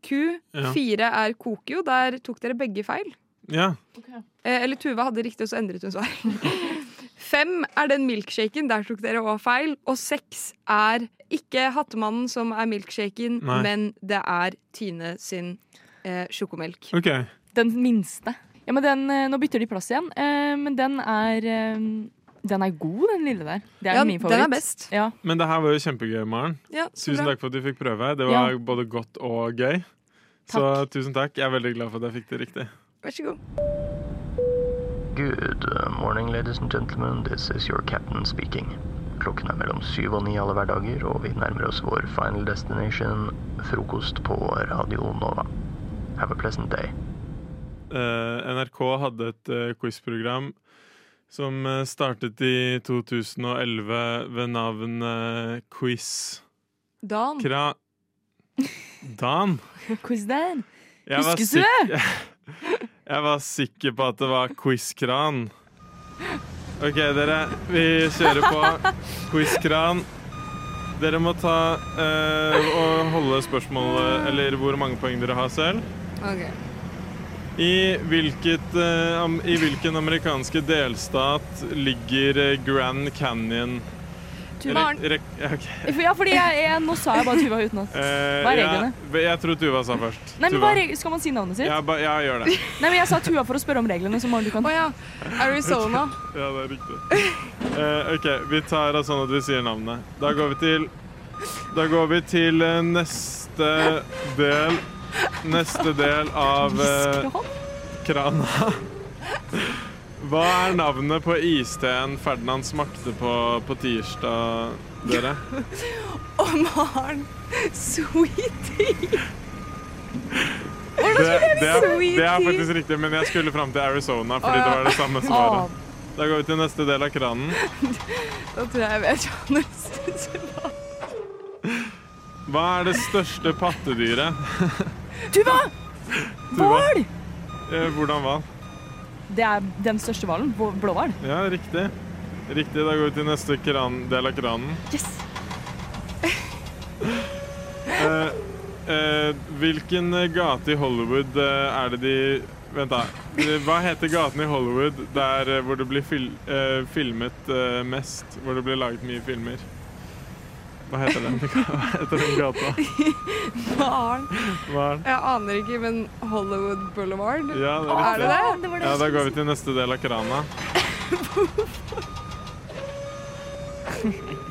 Speaker 19: ku.
Speaker 21: Ja.
Speaker 19: Fire er kokio. Der tok dere begge feil.
Speaker 21: Ja.
Speaker 19: Eh, eller Tuva hadde riktig, og så endret hun svar. Fem er den milkshaken. Der tok dere òg feil. Og seks er ikke Hattemannen som er milkshaken,
Speaker 21: Nei.
Speaker 19: men det er Tine sin eh, sjokomelk.
Speaker 21: OK.
Speaker 22: Den minste. Ja, men den, eh, nå bytter de plass igjen, eh, men den er eh, Den er god, den lille der. Det er
Speaker 19: Ja,
Speaker 22: min
Speaker 19: den
Speaker 22: favoritt.
Speaker 19: er best.
Speaker 22: Ja.
Speaker 21: Men det her var jo kjempegøy, Maren.
Speaker 19: Ja, så
Speaker 21: tusen
Speaker 19: bra.
Speaker 21: takk for at du fikk prøve. Det var
Speaker 19: Ja.
Speaker 21: både godt og gøy. Så tusen takk. Jeg er veldig glad for at jeg fikk det riktig.
Speaker 19: Vær så god.
Speaker 6: Good uh, morning, ladies and gentlemen. This is your captain speaking. Klokken er mellom syv og ni alle hverdager, og vi nærmer oss vår final destination, frokost på Radio Nova. Have a pleasant day.
Speaker 21: Eh, NRK hadde et eh, quizprogram som eh, startet i 2011 ved navn eh, Quiz
Speaker 19: Dan.
Speaker 21: Kra... Dan?
Speaker 22: Quiz der.
Speaker 21: Jeg var,
Speaker 22: Huskes du
Speaker 21: sikk-
Speaker 22: det?
Speaker 21: jeg var sikker på at det var Quizkran. OK, dere. Vi kjører på Quizkran. Dere må ta eh, og holde spørsmålet, eller hvor mange poeng dere har selv.
Speaker 19: Ok.
Speaker 21: I, hvilket, eh, am, I hvilken amerikanske delstat ligger eh, Grand Canyon?
Speaker 22: Tuva.
Speaker 21: Re- rek- ja, ok.
Speaker 22: For- Ja, fordi jeg, jeg, nå sa jeg bare Tuva utenat.
Speaker 21: Eh,
Speaker 22: Hva er
Speaker 21: ja,
Speaker 22: reglene?
Speaker 21: ve- jeg tror Tuva sa først.
Speaker 22: Nei, men
Speaker 21: Tuva.
Speaker 22: hva er reg- Skal man si navnet sitt?
Speaker 21: Ja, ba, ja, gjør det.
Speaker 22: Nei, men Jeg sa Tuva for å spørre om reglene. Så Maren, du kan.
Speaker 19: Arizona.
Speaker 21: ja, det er riktig. Eh, OK, vi tar det sånn at vi sier navnet. Da går vi til Da går vi til eh, neste del Neste del av eh, krana. Hva er navnet på isteen Ferdinand smakte på på tirsdag, dere?
Speaker 19: Å, Maren! Sweetie!
Speaker 21: Det, det, er, det er faktisk riktig, men jeg skulle fram til Arizona fordi det var det samme svaret. Da går vi til neste del av kranen.
Speaker 19: Da tror jeg jeg vet hva du syns var.
Speaker 21: Hva er det største pattedyret?
Speaker 22: Tuva!
Speaker 21: Tuva.
Speaker 22: Hval!
Speaker 21: Eh, Hvordan hval?
Speaker 22: Det er den største hvalen. blå- Blåhval.
Speaker 21: Ja, riktig. Riktig, da går vi til neste kran, del av kranen.
Speaker 22: Yes.
Speaker 21: Eh, eh, hvilken gate i Hollywood eh, er det de Vent, da. Eh, Hva heter gaten i Hollywood der eh, hvor det blir fil, eh, filmet eh, mest? Hvor det blir laget mye filmer? Hva heter den, hva heter den gata?
Speaker 19: Barn.
Speaker 21: Hva er den?
Speaker 19: Jeg aner ikke, men Hollywood Boulevard?
Speaker 21: Ja, det er
Speaker 19: Å,
Speaker 21: riktig.
Speaker 19: det det? det, var det
Speaker 21: ja,
Speaker 19: jeg
Speaker 21: da
Speaker 19: skulle
Speaker 21: går vi til neste del av krana.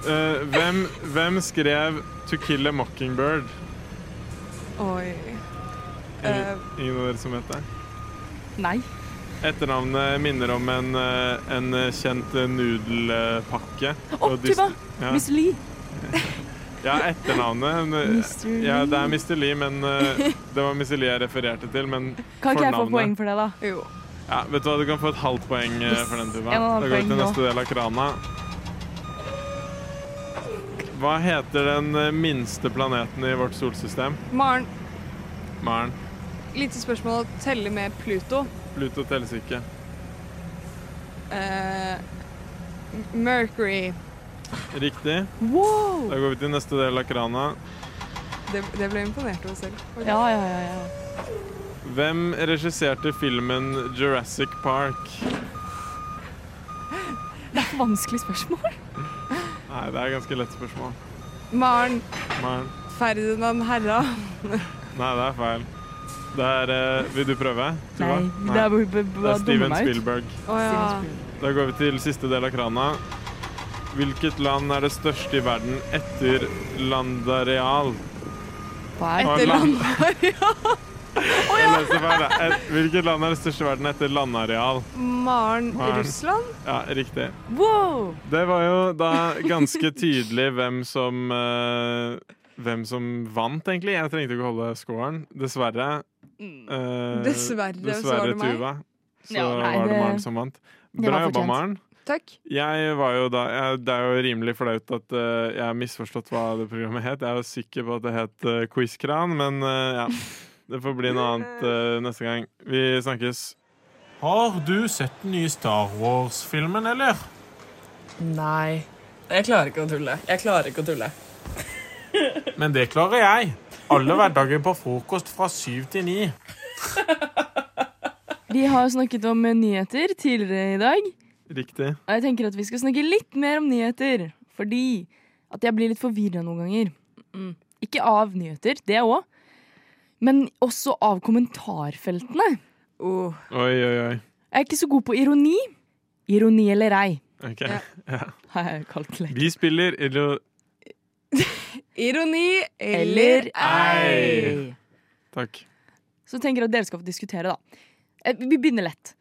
Speaker 21: Eh, hvem, hvem skrev 'To kill a mockingbird'?
Speaker 19: si. Oi. Eh,
Speaker 21: Ingen, ingen av dere som vet det?
Speaker 22: Nei.
Speaker 21: Etternavnet minner om en, eh, en kjent nudelpakke.
Speaker 22: Å,
Speaker 21: Og dyst-
Speaker 22: Tuva!
Speaker 21: Ja.
Speaker 22: Miss Lee.
Speaker 21: Ja, etternavnet. men-
Speaker 22: Mr. Lee.
Speaker 21: Ja, det er Mr. Lee, men eh, det var Mr. Lee jeg refererte til, men
Speaker 22: Kan ikke jeg få
Speaker 21: fornavnet-
Speaker 22: poeng for det, da?
Speaker 19: Jo.
Speaker 21: Ja, vet du hva, du kan få et halvt poeng eh,
Speaker 22: Yes,
Speaker 21: for den, Tuva.
Speaker 22: en og en halv
Speaker 21: Da går vi
Speaker 22: poeng
Speaker 21: til
Speaker 22: nå.
Speaker 21: neste del av krana. Hva heter den eh, minste planeten i vårt solsystem?
Speaker 19: Maren,
Speaker 21: Maren.
Speaker 19: lite spørsmål. Telle med Pluto.
Speaker 21: Pluto telles ikke.
Speaker 19: Eh, Mercury.
Speaker 21: Riktig.
Speaker 19: Wow!
Speaker 21: Da går vi til neste del av krana.
Speaker 19: Det, det ble jeg imponert over selv. faktisk.
Speaker 22: Ja, ja, ja. ja.
Speaker 21: Hvem regisserte filmen Jurassic Park?
Speaker 22: Det er et vanskelig spørsmål.
Speaker 21: Nei, det er ganske lett spørsmål.
Speaker 19: Maren.
Speaker 21: Maren.
Speaker 19: Ferdinand Herra.
Speaker 21: Nei, det er feil. Det er eh, Vil du prøve? Tuva?
Speaker 22: Nei, det er bare- bare-
Speaker 21: Det
Speaker 22: bare
Speaker 21: er Steven
Speaker 22: dumme meg ut.
Speaker 21: Spielberg.
Speaker 19: Å ja.
Speaker 21: Da går vi til siste del av krana. Hvilket land er det største i verden etter Landareal?
Speaker 19: Etter land.
Speaker 21: Jeg leste feil, da. Et, hvilket land er det største i verden etter landareal?
Speaker 19: Maren
Speaker 21: Maren.
Speaker 19: Russland.
Speaker 21: Ja, riktig.
Speaker 19: Wow!
Speaker 21: Det var jo da ganske tydelig hvem som eh, Hvem som vant, egentlig. Jeg trengte ikke å holde scoren. Dessverre. eh,
Speaker 19: Dessverre, så var det meg.
Speaker 21: Tuva. Så
Speaker 19: Mm. Ja, nei,
Speaker 21: var det
Speaker 19: det-
Speaker 21: Maren som vant.
Speaker 19: Det
Speaker 21: Bra
Speaker 19: var
Speaker 21: jobba,
Speaker 19: fortjent.
Speaker 21: Maren.
Speaker 19: Takk.
Speaker 21: Jeg var jo da, jeg, det er jo rimelig flaut at eh, jeg har misforstått hva det programmet het. Jeg er jo sikker på at det het eh, Quizkran, men eh, ja. Det får bli noe annet eh, neste gang. Vi snakkes. Har du sett den nye Star Wars-filmen, eller?
Speaker 22: Nei. Jeg klarer ikke å tulle. Jeg klarer ikke å tulle.
Speaker 21: Men det klarer jeg. Alle hverdager på frokost fra syv til ni.
Speaker 22: Vi har snakket om eh, nyheter tidligere i dag,
Speaker 21: Riktig.
Speaker 22: og jeg tenker at vi skal snakke litt mer om nyheter, fordi at jeg blir litt forvirra noen ganger. Mm. Ikke av nyheter, det òg, men også av kommentarfeltene.
Speaker 21: Oi, oi, oi.
Speaker 22: Jeg er ikke så god på ironi. Ironi eller ei,
Speaker 21: Ok. Ja.
Speaker 22: har jeg kalt det.
Speaker 21: Vi spiller Ilo...
Speaker 19: Ironi eller
Speaker 22: Eller ei.
Speaker 21: Takk.
Speaker 22: Så tenker jeg at dere skal få diskutere, da. Eh, Vi begynner lett.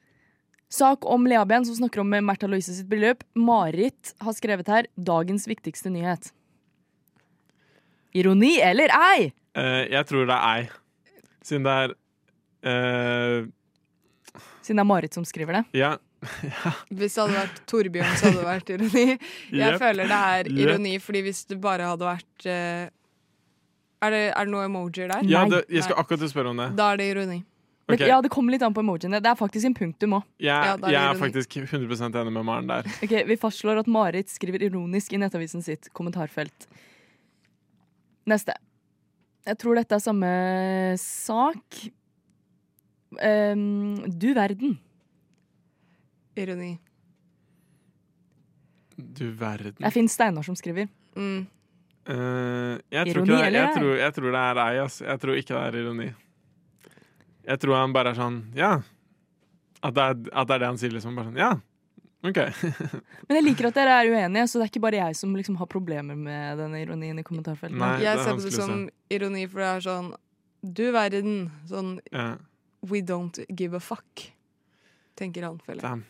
Speaker 22: Sak om Leaben som snakker om eh, Märtha Louise sitt bryllup. Marit har skrevet her 'Dagens viktigste nyhet'. Ironi eller ei?
Speaker 21: Eh, jeg tror det er ei. Siden det er eh,
Speaker 22: Siden det er Marit som skriver det.
Speaker 21: Ja.
Speaker 19: Hvis det hadde vært Torbjørn, så hadde det vært ironi. Jeg
Speaker 21: Jepp.
Speaker 19: føler det er
Speaker 21: Jepp.
Speaker 19: ironi, fordi hvis det bare hadde vært eh, Er det, er det noe emojier der?
Speaker 21: ja det, jeg skal akkurat til å spørre om det.
Speaker 19: Da er det ironi.
Speaker 22: Men
Speaker 21: Ok.
Speaker 22: Ja, Det kommer litt an på emojiene. Det er faktisk en punktum òg.
Speaker 21: Jeg,
Speaker 22: da er det
Speaker 21: jeg er
Speaker 22: ironi.
Speaker 21: faktisk 100 enig med Maren der.
Speaker 22: Ok, vi fastslår at Marit skriver ironisk i nettavisen sitt kommentarfelt. Neste. Jeg tror dette er samme sak. Ehm, du verden.
Speaker 19: Ironi.
Speaker 21: Du verden.
Speaker 22: Det er Finn Steinar som skriver.
Speaker 21: Eh, jeg, tror
Speaker 22: Mm. Ironi
Speaker 21: ikke det, er-
Speaker 22: eller
Speaker 21: jeg,
Speaker 22: ei?
Speaker 21: tror, jeg tror det er ei, ass. Jeg tror ikke det er ironi. Jeg tror han bare er sånn Ja. At det er, at det, er det han sier, liksom. Bare sånn, ja, OK.
Speaker 22: Men jeg liker at dere er uenige, så det er ikke bare jeg som liksom har problemer med denne ironien i kommentarfeltet.
Speaker 21: Nei, det er
Speaker 19: Jeg ser på det
Speaker 21: vanskelig å
Speaker 19: som ironi, for det er sånn Du verden. Sånn
Speaker 21: Ja.
Speaker 19: We don't give a fuck, tenker han, føler jeg.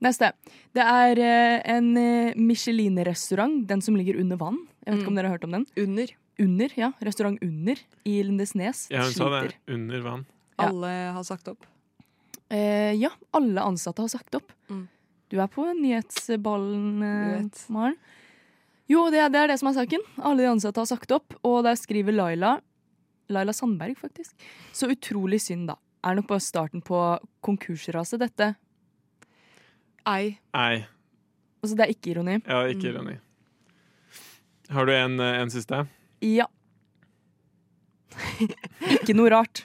Speaker 22: Neste. Det er eh, en eh, Michelin-restaurant, den som ligger under vann. Jeg vet ikke om dere har hørt om den?
Speaker 19: Under.
Speaker 22: Under, ja. Restaurant Under i Lindesnes.
Speaker 21: Ja, hun sa
Speaker 22: sliter.
Speaker 21: det. Under vann.
Speaker 19: Alle har sagt opp.
Speaker 22: Eh, ja, alle ansatte har sagt opp.
Speaker 19: Mm.
Speaker 22: Du er på nyhetsballen, eh, Maren. Jo, det er, det er det som er saken. Alle de ansatte har sagt opp, og der skriver Laila Laila Sandberg, faktisk. Så utrolig synd, da. Er nok bare starten på konkursraset, dette.
Speaker 19: Ei.
Speaker 21: Ei.
Speaker 22: Altså, det er ikke ironi.
Speaker 21: Ja, ikke
Speaker 22: Mm.
Speaker 21: ironi. Har du en, eh, en siste?
Speaker 22: Ja. ikke noe rart.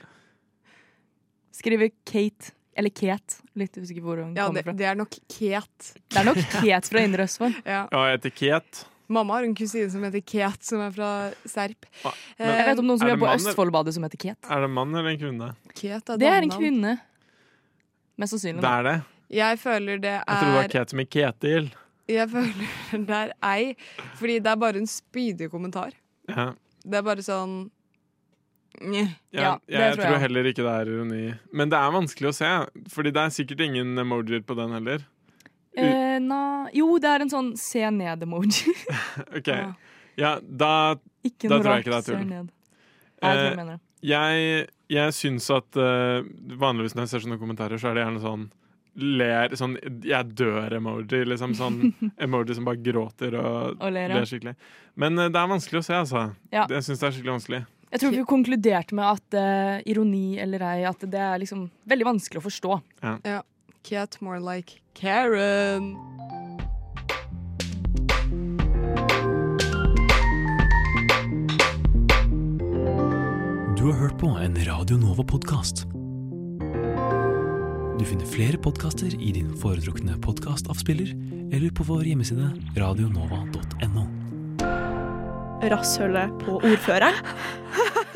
Speaker 22: Skriver Kate. Eller Kate. Litt usikker hvor hun
Speaker 19: Ja,
Speaker 22: kommer
Speaker 19: det,
Speaker 22: fra.
Speaker 19: det er nok Ket.
Speaker 22: Det er nok Kate fra Indre Østfold.
Speaker 19: Ja.
Speaker 21: Ja, etikett.
Speaker 19: Mamma har en kusine som heter Kate, som er fra Serp.
Speaker 21: Ah, men-
Speaker 19: Eh,
Speaker 21: Jeg vet om noen som Er det jobber på mann, eller-
Speaker 19: Østfoldbadet som heter Kate.
Speaker 21: Er det en mann eller en kvinne?
Speaker 19: Kate
Speaker 22: Det er en
Speaker 19: damenavn.
Speaker 22: kvinne. Mest sannsynlig.
Speaker 21: Det er det.
Speaker 19: Jeg føler det
Speaker 21: Jeg trodde det
Speaker 19: er
Speaker 21: var Kate med Ketil.
Speaker 19: Jeg føler det er ei, fordi det er bare en spydig kommentar.
Speaker 21: Ja.
Speaker 19: Det er bare sånn Njeh.
Speaker 21: Ja, jeg, jeg tror heller ikke det er ironi. Men det er vanskelig å se, Fordi det er sikkert ingen emojier på den heller.
Speaker 22: Eh, na, jo, det er en sånn se ned-emoji.
Speaker 21: Ok, ja, da,
Speaker 22: Ikke
Speaker 21: da
Speaker 22: noe
Speaker 21: tror
Speaker 22: rart,
Speaker 21: jeg ikke det er
Speaker 22: ser
Speaker 21: tull.
Speaker 22: ned. Nei, jeg tror jeg
Speaker 21: Eh,
Speaker 22: mener det.
Speaker 21: jeg, jeg syns at eh, vanligvis når jeg ser sånne kommentarer, så er det gjerne sånn ler, sånn 'jeg dør'-emoji. Liksom sånn emoji som bare gråter og,
Speaker 22: Og ler,
Speaker 21: ler,
Speaker 22: ja.
Speaker 21: skikkelig. Men eh, det er vanskelig å se, altså.
Speaker 22: Ja.
Speaker 21: Jeg syns det er skikkelig vanskelig.
Speaker 22: Jeg tror vi konkluderte med at eh, ironi eller ei, at det er liksom veldig vanskelig å forstå.
Speaker 21: Ja.
Speaker 19: Ja. Kate more like Karen.
Speaker 15: Du har hørt på en Radio Nova-podkast. Du finner flere podkaster i din foretrukne podkastavspiller eller på vår hjemmeside radionova.no.
Speaker 5: Rasshølet på ordføreren.